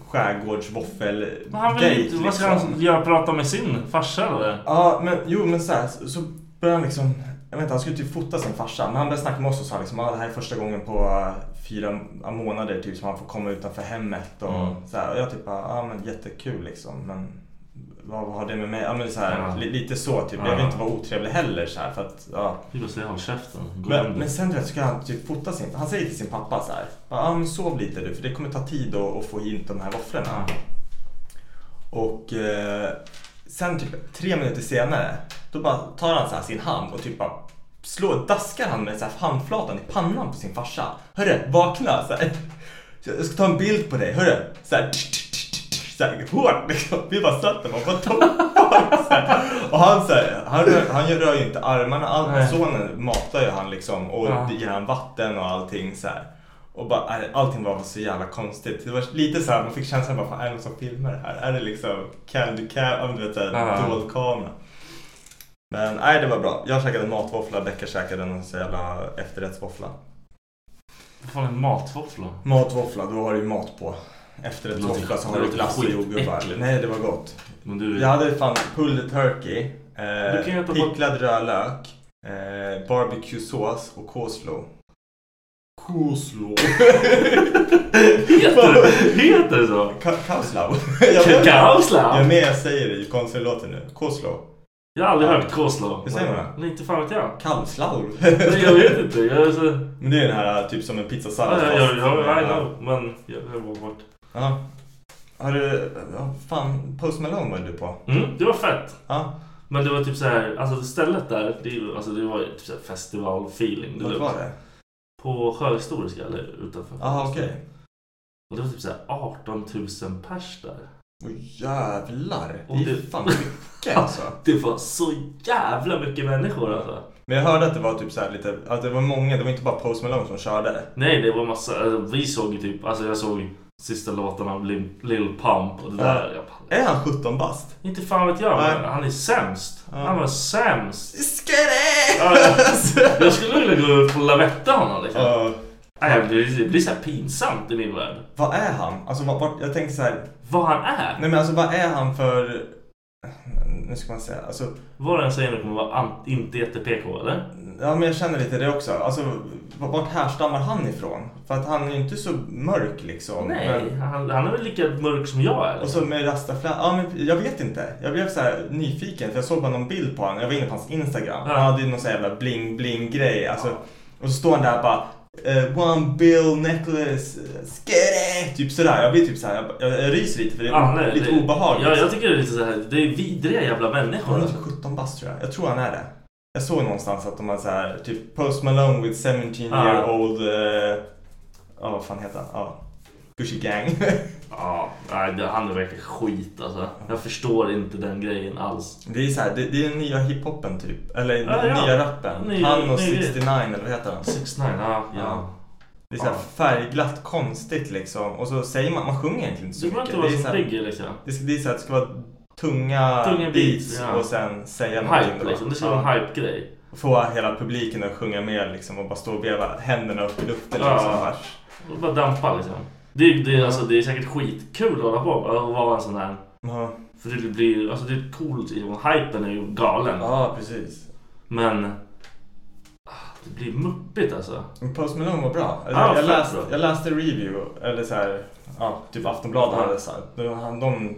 S3: skärgårdsvåffel
S2: Men han vill inte... Vad ska
S3: liksom.
S2: han göra? Prata med sin farsa eller?
S3: Ja, men jo men så, här, så så började han liksom, jag vet inte, han skulle typ fota sin farsa. Men han började snacka med oss och sa liksom, ah, det här är första gången på eh, fyra ja, månader typ som han får komma utanför hemmet och
S2: Mm.
S3: så här. Och jag typ bara, ja ah, men jättekul liksom. Men vad, vad har det med mig? Ja men det är så här,
S2: Ja.
S3: li, lite så typ. Jag vill inte vara otrevlig heller så här för att, ja.
S2: Du bara säger håll käften. Gå
S3: Men,
S2: hem.
S3: men sen du vet, ska han typ fota sin, han säger till sin pappa så här, bara, ah, men sov lite du för det kommer ta tid att, att få hit de här våfflorna. Och eh, sen typ tre minuter senare, då bara tar han så här sin hand och typ bara slår, daskar han med så här handflatan i pannan på sin farsa. Hörru, vakna! Så här, jag ska ta en bild på dig, hörru! Så här, så här hårt liksom. Vi bara satt där och bara, vad tog- så här. Och han så här, han rör, han rör ju inte armarna alls. Sonen matar ju han liksom och
S2: Ja.
S3: ger han vatten och allting så här. Och bara, nej, allting var så jävla konstigt. Det var lite så här, man fick känslan bara, fan, är det någon som filmar det här? Är det liksom candy cam, ja, men du vet, så här,
S2: Ja.
S3: dold kamera? Men nej, det var bra. Jag käkade en matvåffla, Becka käkade en så jävla efterrättsvåffla.
S2: Vad fan är en matvåffla?
S3: Matvåffla, då har du ju mat på.
S2: Det
S3: Efterrättsvåffla
S2: låter-
S3: så har
S2: det
S3: du
S2: låter
S3: glass och jordgubbar.
S2: skitäckligt.
S3: Nej, det var gott.
S2: Men du...
S3: Jag hade fan pulled turkey,
S2: Du kan ju
S3: eh,
S2: äta
S3: picklad rödlök, eh, barbecuesås och coleslaw. Coleslaw?
S2: Heter det heter det så?
S3: Ka- Kaoslau. Jag är
S2: Kaoslam?
S3: med, jag säger det i konsertlåten nu. Coleslaw.
S2: Jag har aldrig hört coleslaw.
S3: Hur säger man det?
S2: Nej, inte fan vet jag.
S3: Kalvslav.
S2: Nej, jag vet inte. Jag är så...
S3: Men det är den här typ som en pizzasallad.
S2: Ja, ja, ja, ja,
S3: fast-
S2: I know. Men jag jag var bort.
S3: Ja. Har du... Ja, fan, Post Malone var du på.
S2: Mm, det var fett.
S3: Ja,
S2: Men det var typ så här, alltså stället där, det, är ju- alltså det var ju typ så här festivalfeeling.
S3: vart
S2: deluxe.
S3: var det?
S2: På Sjöhistoriska eller utanför.
S3: Jaha, okej.
S2: Och det var typ så här 18 000 pers där.
S3: Åh jävlar.
S2: Och
S3: Det är
S2: det-
S3: fan mycket alltså.
S2: Det var så jävla mycket människor alltså.
S3: Men jag hörde att det var typ så här lite... Att det var många, det var inte bara Post Malone som körde.
S2: Nej, det var massa, alltså, vi såg ju typ, alltså jag såg sista låten av Lil, Lil Pump och det där. Jag bara,
S3: Är han 17 bast?
S2: inte fan vet jag,
S3: Nej.
S2: men han är sämst. Han var sämst.
S3: Skräs!
S2: Ja, Jag skulle vilja gå upp och lavetta honom liksom.
S3: Ja,
S2: Nej, men det blir så här pinsamt i min värld.
S3: Vad är han? Alltså, vad, vad, jag tänker så här.
S2: Vad han är.
S3: Nej men alltså vad är han för... Nu ska man säga, alltså...
S2: Vad han säger nu kommer vara an- inte jätte-PK eller?
S3: Ja men jag känner lite det också. Alltså v- vart härstammar han ifrån? För att han är ju inte så mörk liksom.
S2: Nej,
S3: Men,
S2: han, han är väl lika mörk som jag är. liksom.
S3: och så med rastaflä... Ja men jag vet inte. Jag blev så här nyfiken för jag såg bara någon bild på honom. Jag var inne på hans Instagram.
S2: Ja.
S3: Han hade ju någon sån här jävla bling bling grej. Alltså, och så står han där bara... eh, one bill necklace, skere! Typ sådär. Jag blir typ såhär, jag, jag, jag ryser lite för det är
S2: Ja, nej,
S3: lite
S2: det-
S3: obehagligt.
S2: Ja, jag tycker det är lite så här. Det är vidriga jävla människor.
S3: Han är
S2: alltså.
S3: typ 17 bast tror jag. Jag tror han är det. Jag såg någonstans att de hade så här, typ Post Malone with 17 year old... eh, Ja, vad fan heter han? Ja. Gucci Gang.
S2: Ja, nej, det- han är verkligen skit alltså. Jag förstår inte den grejen alls.
S3: det är så här, det, det är den nya hiphopen typ. Eller den
S2: Ja, ja.
S3: nya rappen.
S2: Ny-
S3: han och
S2: ny grej.
S3: 69 eller vad heter han?
S2: 6 9 ja. ja.
S3: Det är så här färgglatt, konstigt liksom. Och så säger man, man sjunger egentligen inte så
S2: Du behöver
S3: mycket.
S2: inte vara
S3: Det är så
S2: så
S3: här,
S2: pigg liksom.
S3: det, ska, det är så här, det ska vara tunga,
S2: Tunga beats,
S3: beats
S2: ja.
S3: och sen säga
S2: Hype
S3: då.
S2: liksom. Det ska
S3: typ Ja.
S2: vara en hype-grej.
S3: Få hela publiken att sjunga med liksom och bara stå och veva händerna upp i luften.
S2: Ja.
S3: Liksom. Här.
S2: Och bara dampa liksom. Det, är- det, är- alltså, det är säkert skitkul att hålla på med, att vara en sån här.
S3: Ja.
S2: För det blir, alltså det är coolt. Hypen är ju galen.
S3: ja, precis.
S2: Men... ah, Det blir muppigt alltså.
S3: Men Post Malone var bra. Alltså,
S2: Ja,
S3: jag,
S2: fett
S3: läste,
S2: bra.
S3: jag läste review, eller så här, ja, typ Aftonbladet
S2: Ja.
S3: hade sagt. De, han- de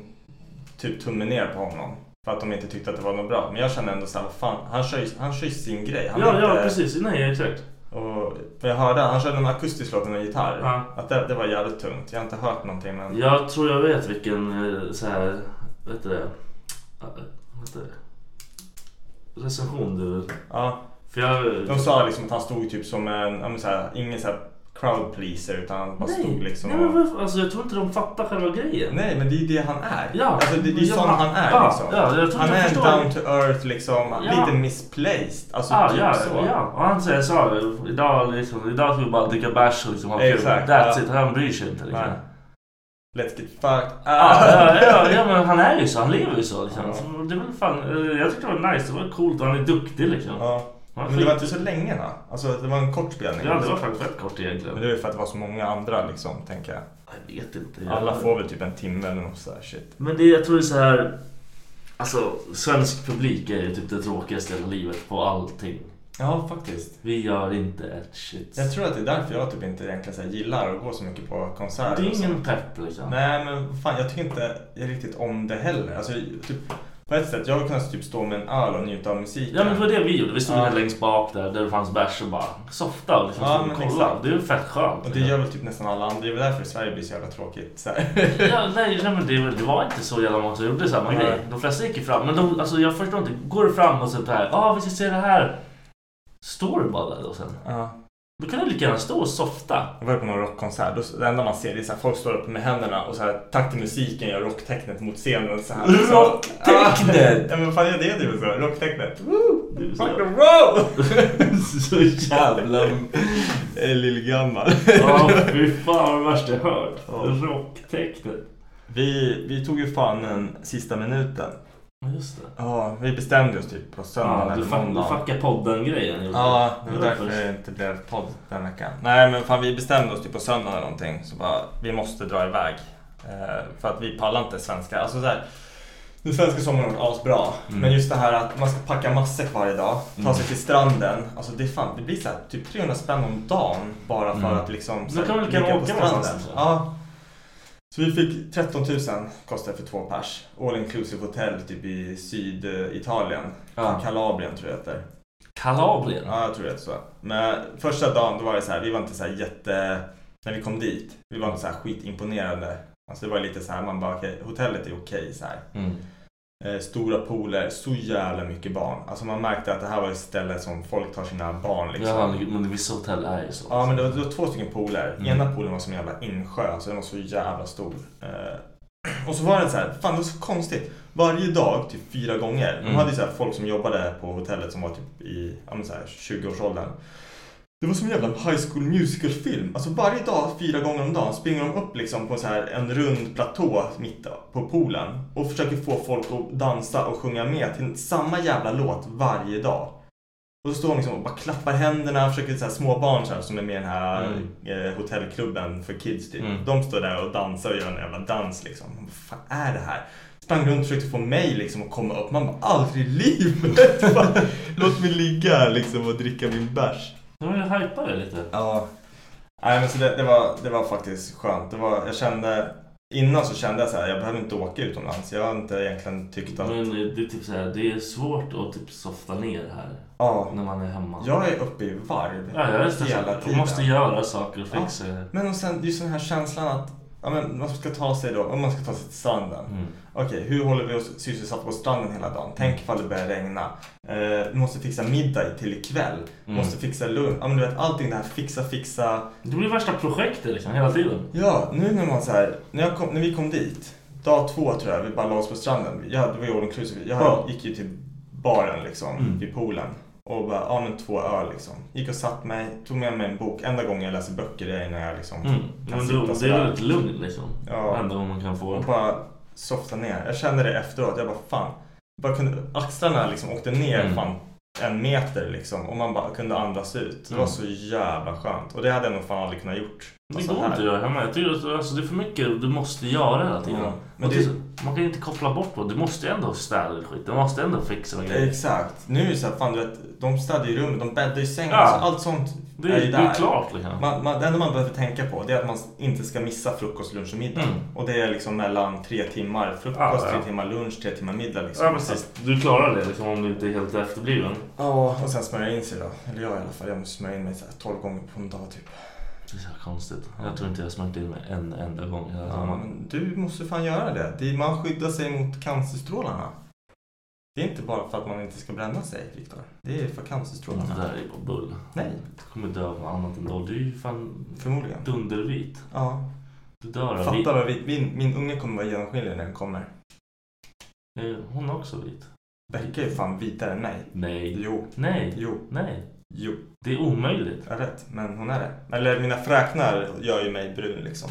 S3: typ tummen ner på honom. För att de inte tyckte att det var något bra. Men jag kände ändå såhär, fan, han kör, ju- han kör ju sin grej. Han är
S2: Ja, ja
S3: inte-
S2: precis. Nej, exakt.
S3: Och för jag hörde, han körde en akustisk låt med en gitarr.
S2: Ja.
S3: Att det, det var jävligt tungt. Jag har inte hört någonting men...
S2: Jag tror jag vet vilken eh, så här, vad heter det? Ja, Vad heter det? Recension du...
S3: Ja.
S2: För jag...
S3: De sa liksom att han stod typ som en, ja, men så här, ingen så här crowd pleaser utan han bara stod liksom
S2: nej
S3: och-
S2: men varför? Alltså jag tror inte de fattar själva grejen.
S3: Nej, men det är ju det han är.
S2: Ja,
S3: alltså, det, det är
S2: ja,
S3: sån han är
S2: ja,
S3: liksom.
S2: ja, jag tror
S3: han
S2: jag
S3: är
S2: förstår.
S3: down to earth liksom.
S2: Ja.
S3: Lite misplaced. Alltså
S2: Ah,
S3: typ
S2: ja,
S3: så.
S2: ja, och han säger så. Idag, liksom, idag ska vi bara dricka bärs och liksom, ha kul.
S3: Exakt,
S2: That's
S3: ja.
S2: it, han bryr sig inte. Liksom.
S3: Nej. Let's get fucked up.
S2: Ah, ja, ja, ja, men han är ju så, han lever ju så. Liksom. Så Det var fan, eh, jag tyckte det var nice, det var coolt och han är duktig liksom.
S3: Ja.
S2: Han är
S3: Men det var
S2: skit-
S3: inte så länge va? Alltså det var en kort spelning.
S2: Ja, det var faktiskt rätt kort egentligen.
S3: Men det är ju för att det var så många andra liksom, tänker jag.
S2: Jag vet inte.
S3: Alla får väl typ en timme eller något sådär shit.
S2: Men det, jag tror det är så här. Alltså, svensk publik är ju typ det tråkigaste i hela livet på allting.
S3: Ja, faktiskt.
S2: Vi gör inte ett shit.
S3: Jag tror att det är därför jag typ inte egentligen så här gillar att gå så mycket på konserter.
S2: det
S3: och
S2: är
S3: så.
S2: ingen pepp liksom.
S3: Nej men fan jag tycker inte riktigt om det heller. Alltså, typ, på ett sätt, jag hade kunnat typ stå med en öl och njuta av musiken.
S2: Ja men det var det vi gjorde. Vi stod
S3: Ja.
S2: här längst bak där, där det fanns bärs och bara softa och liksom
S3: Ja,
S2: stod
S3: men
S2: och kolla.
S3: exakt.
S2: Det är ju fett skönt.
S3: Och det gör väl typ nästan alla andra. Det är väl därför Sverige blir så jävla tråkigt. Så här.
S2: ja, nej, nej men det, det var inte så jävla många som gjorde samma
S3: Nej.
S2: grej. De flesta gick ju fram. Men de, alltså, jag förstår inte. Går du fram och så här, ja ah, vi ska se det här. Står du bara där då sen?
S3: Ja.
S2: Då kan du lika gärna stå och softa.
S3: Jag var på någon rockkonsert. Då, det enda man ser det är så här, folk står upp med händerna och så här, tack till musiken gör rocktecknet mot scenen. Så här, Så-
S2: Rocktecknet?
S3: ja men vad fan är det? Det är väl så? Rocktecknet.
S2: Det är
S3: Woo!
S2: så-
S3: Rock and roll!
S2: så jävla...
S3: Jag är Eh, lillgammal.
S2: Ja, fy fan vad värst jag hört. Rocktecknet.
S3: Vi, vi tog ju fan den sista minuten.
S2: Ja, Just det.
S3: Ja, vi bestämde oss typ på söndagen
S2: Ja, du,
S3: eller
S2: fuck, du
S3: måndagen.
S2: fuckar podden-grejen. gjorde
S3: Ja,
S2: du.
S3: det var därför det inte blev podd den veckan. Nej, men fan vi bestämde oss typ på söndag eller någonting. Så bara, vi måste dra iväg. Eh, för att vi pallar inte svenska. Alltså så här, den svenska sommaren har varit asbra. Men just det här att man ska packa matsäck varje dag. Ta sig till stranden. Alltså det, är fan, det blir så här, typ 300 spänn om dagen. Bara för att liksom...
S2: Då
S3: så här,
S2: kan man lika gärna
S3: ligga på
S2: åka
S3: stranden.
S2: någonstans, alltså? så.
S3: Ja. Så vi fick 13 000 kostade för två pers. All inclusive hotell typ i Syditalien.
S2: Ja.
S3: Kalabrien tror jag det heter.
S2: Kalabrien.
S3: Ja, jag tror det är så. Men första dagen då var det så här, vi var inte så här jätte... När vi kom dit, vi var inte så här skitimponerade. Alltså det var lite så här, man bara okej, hotellet är okej så här.
S2: Mm.
S3: Eh, stora pooler, så jävla mycket barn. Alltså man märkte att det här var ett ställe som folk tar sina barn liksom.
S2: Ja, men vissa hotell är ju så.
S3: Ja men det var, det var två stycken pooler.
S2: Mm.
S3: Ena poolen var som en jävla insjö, så den var så jävla stor. Eh, och så var det så här, fan det var så konstigt. Varje dag, typ fyra gånger. De
S2: Mm.
S3: hade ju så här folk som jobbade på hotellet som var typ i ja, men så här, 20-årsåldern. Det var som en jävla high school musical film. Alltså varje dag, fyra gånger om dagen, springer de upp liksom på så här en rund platå mitt på poolen. Och försöker få folk att dansa och sjunga med till samma jävla låt varje dag. Och så står hon liksom och bara klappar händerna, försöker så här, små barn så här, som är med i den här
S2: Mm.
S3: eh, hotellklubben för kids typ. De står där och dansar och gör en jävla dans liksom. Vad fan är det här? Sprang runt och försökte få mig liksom att komma upp. Man bara aldrig i livet! Fan, Låt mig ligga här liksom och dricka min bärs.
S2: De hajpar det lite.
S3: Ja. Nej men så det, det, var, det var faktiskt skönt. Det var, jag kände, innan så kände jag så här, jag behöver inte åka utomlands. Jag har inte egentligen tyckt att...
S2: Men eh, det är, typ så här, det är svårt att typ softa ner här
S3: Ja.
S2: när man är hemma.
S3: Jag är uppe i varv
S2: ja, jag är stressad. Man måste göra saker och
S3: Ja.
S2: fixa.
S3: Men och sen just den här känslan att ja, men man ska ta sig då, om man ska ta sig till stranden.
S2: Mm.
S3: Okej, hur håller vi oss sysselsatta på stranden hela dagen? Tänk ifall det börjar regna. Eh, vi måste fixa middag till ikväll.
S2: Mm.
S3: Måste fixa lunch. Ja, men du vet allting det här fixa, fixa.
S2: Det blir värsta projektet liksom hela tiden.
S3: Ja, nu när man så här, när, jag kom, när vi kom dit, dag två tror jag, vi bara la oss på stranden. Jag, det var ju all inclusive. Jag
S2: Ja. Mm.
S3: gick ju till baren liksom, vid poolen. Och bara, ja men två öl liksom. Gick och satt mig, tog med mig en bok. Enda gången jag läser böcker är när jag liksom
S2: Mm. Men det, det
S3: sådär.
S2: är väldigt lugnt liksom.
S3: Ja.
S2: Enda gången man kan få.
S3: Och bara softa ner. Jag kände det efteråt. Jag bara fan. Bara kunde, axlarna liksom åkte ner
S2: Mm.
S3: fan en meter liksom. Och man bara kunde andas ut. Det var så jävla skönt. Och det hade jag nog fan aldrig kunnat gjort.
S2: Mm. Det
S3: Alltså,
S2: går
S3: här.
S2: inte att göra hemma. Jag tycker att alltså, det är för mycket du måste göra hela tiden.
S3: Ja, men
S2: Och
S3: det-
S2: det- Man kan ju inte koppla bort på Du måste ju ändå städa din skit. Du måste ändå fixa grejer.
S3: Exakt. Nu är det så här, fan du vet. De städar ju rummet, de bäddar ju sängen.
S2: Ja.
S3: Alltså, allt sånt
S2: Det, är- det är klart liksom.
S3: Man, man, det enda man behöver tänka på det är att man inte ska missa frukost, lunch och middag.
S2: Mm.
S3: Och det är liksom mellan tre timmar frukost,
S2: Ja, ja.
S3: tre timmar lunch, tre timmar middag. Liksom.
S2: Ja precis. Du klarar det liksom om du inte är helt efterbliven.
S3: Ja, och sen smörjer jag in sig då. Eller jag i alla fall. Jag måste smörja in mig så här 12 gånger på en dag typ.
S2: Det är så här konstigt. Jag tror inte jag har smörjt in mig en enda gång hela
S3: Ja,
S2: sommaren.
S3: men du måste fan göra det. det är, man skyddar sig mot cancerstrålarna. Det är inte bara för att man inte ska bränna sig, Viktor. Det är för
S2: Det
S3: cancerstrålarna.
S2: där är bara bull.
S3: Nej,
S2: Du kommer dö av något annat ändå. Du är ju fan
S3: förmodligen.
S2: dundervit.
S3: Ja,
S2: Du dör av vit.
S3: fatta vad vit. Min, min unge kommer vara genomskinlig när den kommer.
S2: Eh, Hon är också vit.
S3: Becka är ju fan vitare än mig.
S2: Nej.
S3: Jo,
S2: Nej.
S3: jo,
S2: Nej.
S3: jo.
S2: Det är omöjligt.
S3: Jag vet, men hon är det. Eller mina fräknar gör ju mig brun liksom.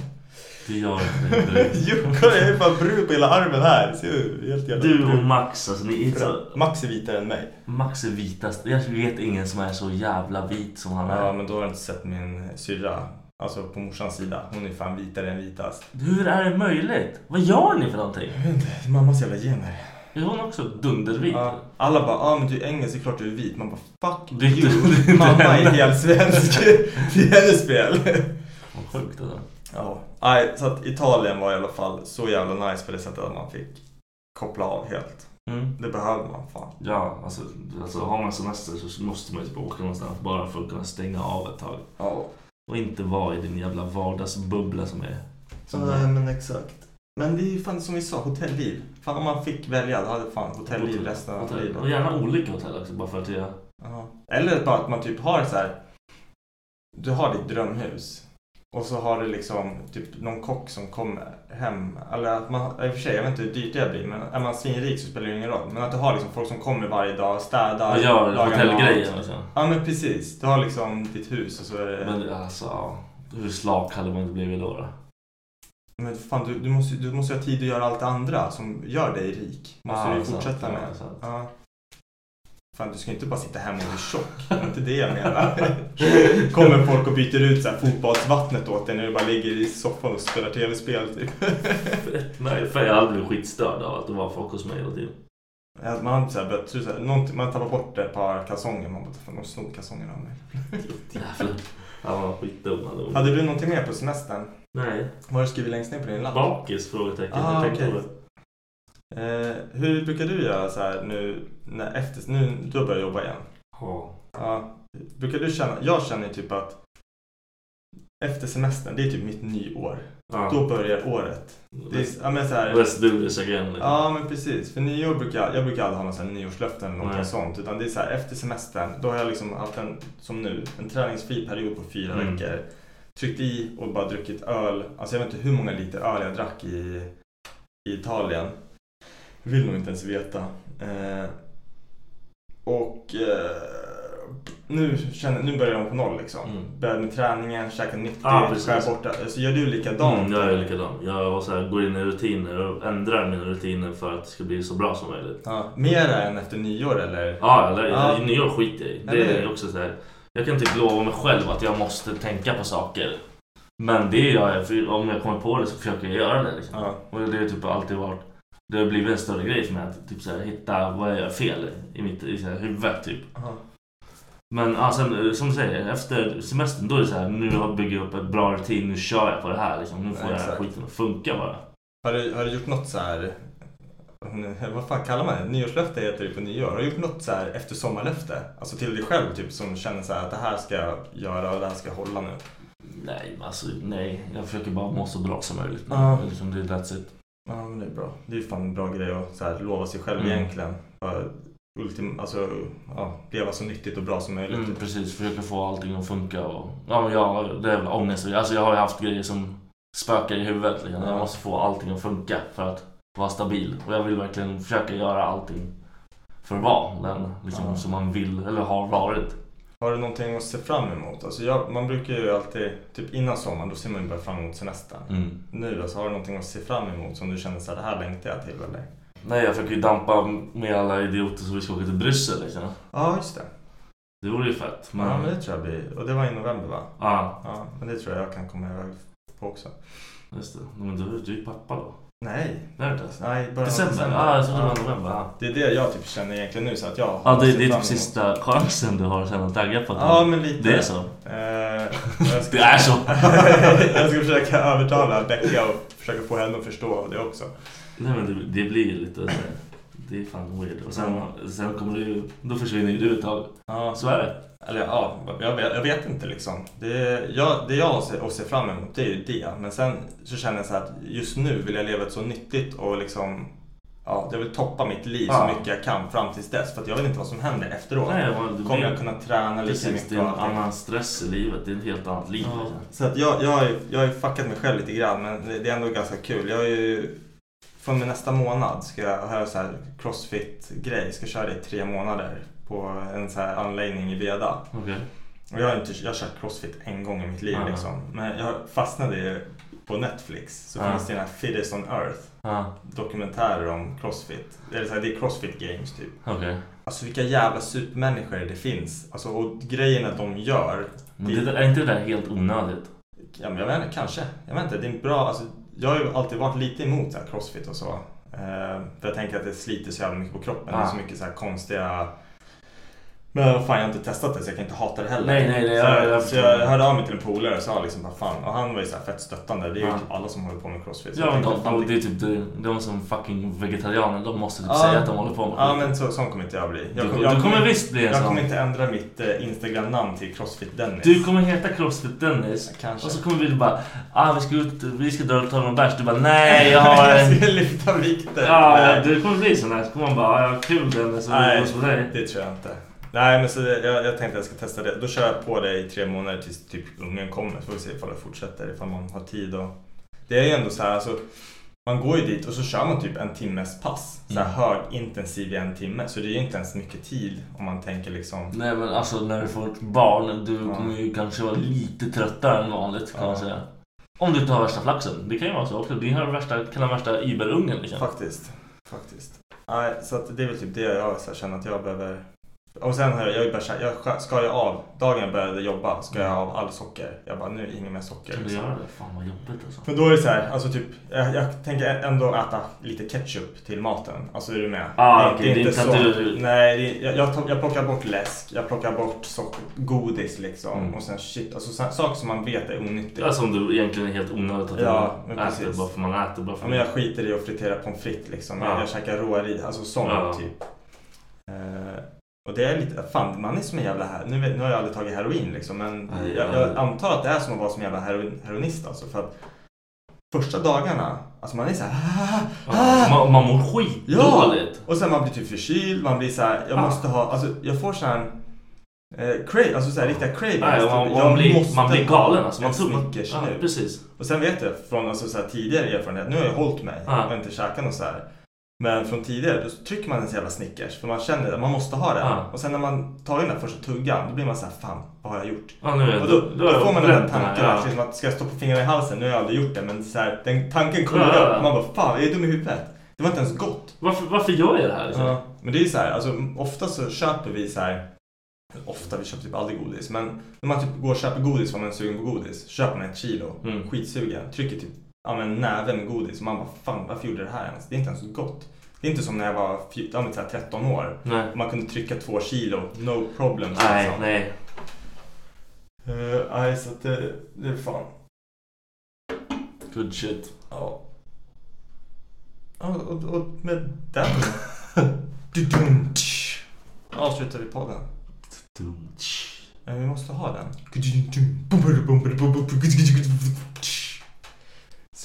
S2: Det gör inte det.
S3: jo, kolla jag är fan brun på hela armen här. Ser du? Helt jävla
S2: Du och
S3: brun.
S2: Max alltså. Ni är så...
S3: Max är vitare än mig.
S2: Max är vitast. Jag vet ingen som är så jävla vit som han är.
S3: Ja, men då har du inte sett min syrra. Alltså på morsans sida. Hon är fan vitare än vitast.
S2: Hur är det möjligt? Vad gör ni för någonting?
S3: Mammas jävla gener.
S2: Är hon också dundervit?
S3: Ja, alla bara, ja ah, men du är engelsk, det är klart du är vit. Man bara, fuck
S2: Det är
S3: you.
S2: inte- det är inte
S3: Mamma är
S2: henne.
S3: helt svensk. det är hennes fel.
S2: Vad sjukt alltså.
S3: Ja, nej, så att Italien var i alla fall så jävla nice på det sättet att man fick koppla av helt.
S2: Mm.
S3: Det behöver man fan.
S2: Ja, alltså, alltså har man semester så måste man ju typ åka någonstans bara för att kunna stänga av ett tag.
S3: Ja.
S2: Och inte vara i din jävla vardagsbubbla som är... Som
S3: Nej, men exakt. Men det är ju fan som vi sa, hotellliv. Fan om man fick välja, då hade fan hotellliv resten av
S2: hotell. Och
S3: livet.
S2: gärna olika hotell också bara för att jag...
S3: Ja. Eller bara att man typ har så här. Du har ditt drömhus. Och så har du liksom typ någon kock som kommer hem. Eller att man, i och för sig, jag vet inte hur dyrt det blir. Men är man svinrik så spelar det ingen roll. Men att du har liksom folk som kommer varje dag, städar,
S2: Jag gör
S3: lagar
S2: hotellgrejer
S3: mat.
S2: liksom.
S3: Ja men precis. Du har liksom ditt hus och så är det... Men,
S2: Men alltså, ja. Hur slak hade man inte blivit då? då?
S3: fan du, du, måste, du måste ju ha tid att göra allt det andra som gör dig rik. Måste
S2: Ja,
S3: du ju
S2: sant,
S3: fortsätta
S2: ja,
S3: med.
S2: sant.
S3: Ja. Fan, du ska inte bara sitta hemma och bli tjock. Det är inte det jag menar. Kommer folk och byter ut så här fotbollsvattnet åt dig när du bara ligger i soffan och spelar tv-spel. Typ.
S2: Nej, för jag hade blivit skitstörd av att det var folk hos mig hela tiden.
S3: Att Man hade så här börjat tro så här, någonting- man tappar bort ett par kalsonger. Man bara, fan de snor kalsongerna av mig.
S2: Jävlar. Han var skitdum han var-
S3: Hade du någonting mer på semestern?
S2: Nej.
S3: Vad har du skrivit längst ner på din lapp?
S2: Bakis? Frågetecken.
S3: Ah,
S2: jag tänkte
S3: okej.
S2: på det.
S3: Eh, hur brukar du göra så här nu när efter, nu du har börjat jobba igen?
S2: Ja.
S3: Ja, brukar du känna, jag känner ju typ att efter semestern, det är typ mitt nyår.
S2: Ja.
S3: Då börjar året. Det är, ja, men så här,
S2: Let's do this again. liksom.
S3: ja men precis, för nyår brukar jag, jag brukar aldrig ha någon sån här nyårslöften eller
S2: Nej.
S3: något sånt. Utan det är så här efter semestern, då har jag liksom haft en, som nu, en träningsfri period på fyra
S2: Mm.
S3: veckor. Tryckt i och bara druckit öl. Alltså jag vet inte hur många liter öl jag drack i, i Italien. Vill nog inte ens veta. Eh, och eh, nu, känner, nu börjar de på noll liksom. Börjar med träningen, käkar nyttigt,
S2: Ja,
S3: skär
S2: Mm. Ah, precis.
S3: borta. Så gör du likadant?
S2: Mm, jag är likadan. Jag var så här, går in i rutiner och ändrar mina rutiner för att det ska bli så bra som möjligt.
S3: Ja, mer än efter nyår eller?
S2: Ja, eller
S3: Ja.
S2: i nyår skiter jag i. Det
S3: Eller
S2: är
S3: hur?
S2: också så här, Jag kan typ lova mig själv att jag måste tänka på saker. Men det gör jag, för om jag kommer på det så försöker jag göra det. Liksom.
S3: Ja.
S2: Och det har typ alltid varit... Det har blivit en större grej för mig att typ så här, hitta vad jag gör fel i mitt i så här, huvud. Typ.
S3: Ja.
S2: Men ja, sen, eh, som du säger, efter semestern då är det så här, nu har jag byggt upp ett bra rutin, nu kör jag på det här liksom. Nu får
S3: Ja,
S2: jag den här
S3: exakt.
S2: skiten att funka bara.
S3: Har, du, har du gjort något så här? Vad fan kallar man det? Nyårslöfte heter det på nyår. Har du gjort något så här efter sommarlöfte? Alltså till dig själv typ som känner så här att det här ska jag göra och det här ska jag hålla nu.
S2: Nej, men alltså nej. Jag försöker bara må så bra som möjligt.
S3: Ja.
S2: Liksom, det är that's it.
S3: Ja men det är bra. Det är ju fan en bra grej att så här, lova sig själv
S2: Mm.
S3: egentligen. Bara Ultim, alltså, ja, leva så nyttigt och bra som möjligt.
S2: Mm, precis, försöka få allting att funka. Och, ja, men jag, det är väl ångest. Alltså, jag har ju haft grejer som spökar i huvudet. Liksom. Jag måste få allting att funka för att vara stabil. Och jag vill verkligen försöka göra allting för att vara den liksom,
S3: Ja.
S2: som man vill eller har varit.
S3: Har du någonting att se fram emot? Alltså jag, man brukar ju alltid, typ innan sommaren, då ser man ju bara fram emot semestern.
S2: Mm.
S3: Nu, alltså, har du någonting att se fram emot som du känner så här, det här längtar jag till eller?
S2: Nej, jag försöker ju dampa med alla idioter som vi ska åka till Bryssel. Liksom.
S3: Ja, just det.
S2: Det vore ju fett. Men,
S3: Ja,
S2: ja,
S3: men det tror jag blir. Och det var i november va?
S2: ja,
S3: Ja, men det tror jag jag kan komma iväg på också.
S2: just det. Men du, du är ju pappa då.
S3: Nej,
S2: Det är det inte?
S3: nej, bara
S2: December? Ja, jag trodde det var november. Ja.
S3: Det är det jag typ känner egentligen nu så att jag...
S2: Ja, det,
S3: ser
S2: det är
S3: fram
S2: typ
S3: emot-
S2: sista chansen du har sen att tagga på det.
S3: Ja, men lite.
S2: Det är så.
S3: Eh, jag ska-
S2: Det är så.
S3: jag ska försöka övertala Becka och försöka få henne att förstå det också.
S2: Nej, men det, det blir ju lite... så här, Det är fan weird. Och sen, sen kommer du ju... Då försvinner ju du ett tag.
S3: Ja,
S2: Så är det.
S3: Eller ja, jag vet, jag vet inte liksom. Det jag, det jag ser, och ser fram emot det är ju det. Men sen så känner jag så här att just nu vill jag leva ett så nyttigt och liksom... Ja, jag vill toppa mitt liv
S2: Ja.
S3: så mycket jag kan fram tills dess. För att jag vet inte vad som händer efteråt.
S2: Nej, vad- det
S3: Kommer
S2: blir-
S3: jag kunna träna lika
S2: Precis,
S3: mycket?
S2: Liksom, det är en
S3: och allting?
S2: annan stress i livet. Det är ett helt annat liv.
S3: Ja,
S2: liksom.
S3: Så att jag, jag, har ju- jag har ju fuckat mig själv lite grann men det, det är ändå ganska kul. Jag har ju, från och med nästa månad ska jag ha en så här crossfit-grej. Ska köra det i tre månader på en så här anläggning i Veda.
S2: Okej.
S3: Och jag har, inte, jag har kört crossfit en gång i mitt liv
S2: Ah.
S3: liksom. Men jag fastnade ju på Netflix så
S2: Ah.
S3: finns det den här Fittest on Earth.
S2: Ja,
S3: Dokumentärer om crossfit. Eller så här, det är crossfit games typ.
S2: okej.
S3: Alltså vilka jävla supermänniskor det finns. Alltså, och grejerna de gör.
S2: Men det, är inte det där helt onödigt?
S3: Ja, men jag vet inte, kanske. Jag vet inte, det är en bra... Alltså, jag har ju alltid varit lite emot så här crossfit och så. Eh, för jag tänker att det sliter så jävla mycket på kroppen. Det är
S2: Ah.
S3: så mycket så här konstiga... Men vad fan, jag har inte testat det så jag kan inte hata det heller.
S2: Nej, nej, nej,
S3: så,
S2: jag- jag
S3: så
S2: förstår.
S3: jag hörde av mig till en polare och sa liksom, vad fan. Och han var ju så här fett stöttande. Det är ju
S2: Ah.
S3: typ alla som håller på med crossfit. Så
S2: Ja,
S3: jag
S2: men
S3: tänkte,
S2: de,
S3: fan,
S2: de, det är typ de, de som fucking vegetarianer. De måste typ
S3: Ja.
S2: säga att de håller på med
S3: Ja,
S2: skit.
S3: men så, sån kommer inte jag bli. Jag,
S2: Du-
S3: kom-
S2: du
S3: jag
S2: kommer visst bli en
S3: Jag
S2: sån.
S3: kommer inte ändra mitt eh, Instagram-namn till Crossfit-Dennis.
S2: Du kommer heta Crossfit Dennis.
S3: Kanske.
S2: Och så kommer vi bara, ah vi ska ut, vi ska dra och ta någon bärs. Du bara, nej jag har...
S3: ska lyfta vikter.
S2: Ja,
S3: Nej.
S2: du kommer bli sån här. Så kommer man bara, "Ah, ja kul Dennis. och vi
S3: Nej,
S2: går på dig.
S3: det tror jag inte. Nej, men så det, jag, jag tänkte jag ska testa det. Då kör jag på det i tre månader tills typ ungen kommer. Så får vi se ifall det fortsätter, ifall man har tid. Och... Det är ju ändå så här, alltså, man går ju dit och så kör man typ en timmes pass. Så här högintensiv i en timme. Så det är ju inte ens mycket tid om man tänker liksom.
S2: Nej men alltså när du får ett barn, du kommer ju kanske vara lite tröttare än vanligt kan man
S3: Ja.
S2: säga. Om du inte har värsta flaxen. Det kan ju vara så också. Din har värsta, kan ha värsta iberungen liksom.
S3: Faktiskt, faktiskt. Nej, så att det är väl typ det jag så här, känner att jag behöver. Och sen har jag, jag, bara, så här, jag ska jag av, dagen jag började jobba ska jag av all socker. Jag bara, nu är det inget mer socker.
S2: Kan du
S3: liksom.
S2: göra det? Fan vad jobbigt alltså.
S3: Men då är det så här, alltså typ, jag, jag tänker ändå äta lite ketchup till maten. Alltså är du med?
S2: Ah, okej, det är inte att du-
S3: Nej, det, är- jag, jag, tar- jag plockar bort läsk, jag plockar bort socker, godis liksom.
S2: Mm. Alltså,
S3: Och sen shit, alltså så, saker som man vet är onyttiga.
S2: Ja, som du egentligen är helt onödigt att
S3: Ja,
S2: du
S3: men
S2: äter
S3: precis.
S2: bara för man äter. Bara för
S3: Ja, men jag skiter i att fritera pommes frites liksom.
S2: Ja.
S3: Jag, jag käkar råris, alltså sånt
S2: Ja.
S3: typ. Eh, och det är lite, fan man är som en jävla här. Nu, vet- nu har jag aldrig tagit heroin liksom men
S2: Nej,
S3: jag,
S2: ja.
S3: jag antar att det är som att vara som en jävla heroin, heroinist alltså. För att första dagarna, alltså man är så här. "Ah, ah,
S2: Ja, man, alltså, man mår skitdåligt.
S3: och sen man blir typ förkyld, man blir så här, jag
S2: Ah.
S3: måste ha, alltså jag får så här eh, cra- alltså så här, riktiga cravings.
S2: Nej,
S3: typ.
S2: man,
S3: Jag
S2: man, blir,
S3: måste
S2: man blir galen
S3: ha
S2: alltså. Man
S3: en
S2: tror... man-
S3: Snickers typ.
S2: ja,
S3: nu.
S2: precis.
S3: Och sen vet jag från alltså, så här, tidigare erfarenhet, nu har jag hållit mig
S2: Ja.
S3: och inte käkat något så här. Men från tidigare då trycker man en jävla Snickers för man känner att man måste ha den.
S2: Ja.
S3: Och sen när man tar in den första tuggan då blir man så här, fan vad har jag gjort?
S2: Ja, nu är jag-
S3: och då,
S2: då-
S3: då,
S2: då har jag
S3: får man den där
S2: bränt den här,
S3: tanken
S2: ja.
S3: att, liksom, att ska jag stoppa fingrarna i halsen? Nu har jag aldrig gjort det men så här, den tanken kommer
S2: Ja, ja, ja.
S3: upp. Man bara, fan jag är dum i huvudet. Det var inte ens gott.
S2: Varför, varför gör jag det här? Liksom?
S3: Ja, men det är ju så här, alltså ofta så köper vi så här Ofta, vi köper typ aldrig godis. Men när man typ går och köper godis för man är sugen på godis. så Köper man ett kilo,
S2: Mm.
S3: skitsugen, trycker typ ja, men näven med godis. Och man bara fan varför gjorde jag det här ens? Det är inte ens gott. Det är inte som när jag var fj- ja, men så här 13 år.
S2: Nej.
S3: Man kunde trycka två kilo, no problem. liksom. känns
S2: Nej,
S3: som.
S2: nej.
S3: Eh, nej, så att det, det är fan.
S2: Good shit.
S3: Ja. Ja, Och, och med den Du-dum, tsch, avslutar vi podden. Ja, vi måste ha den.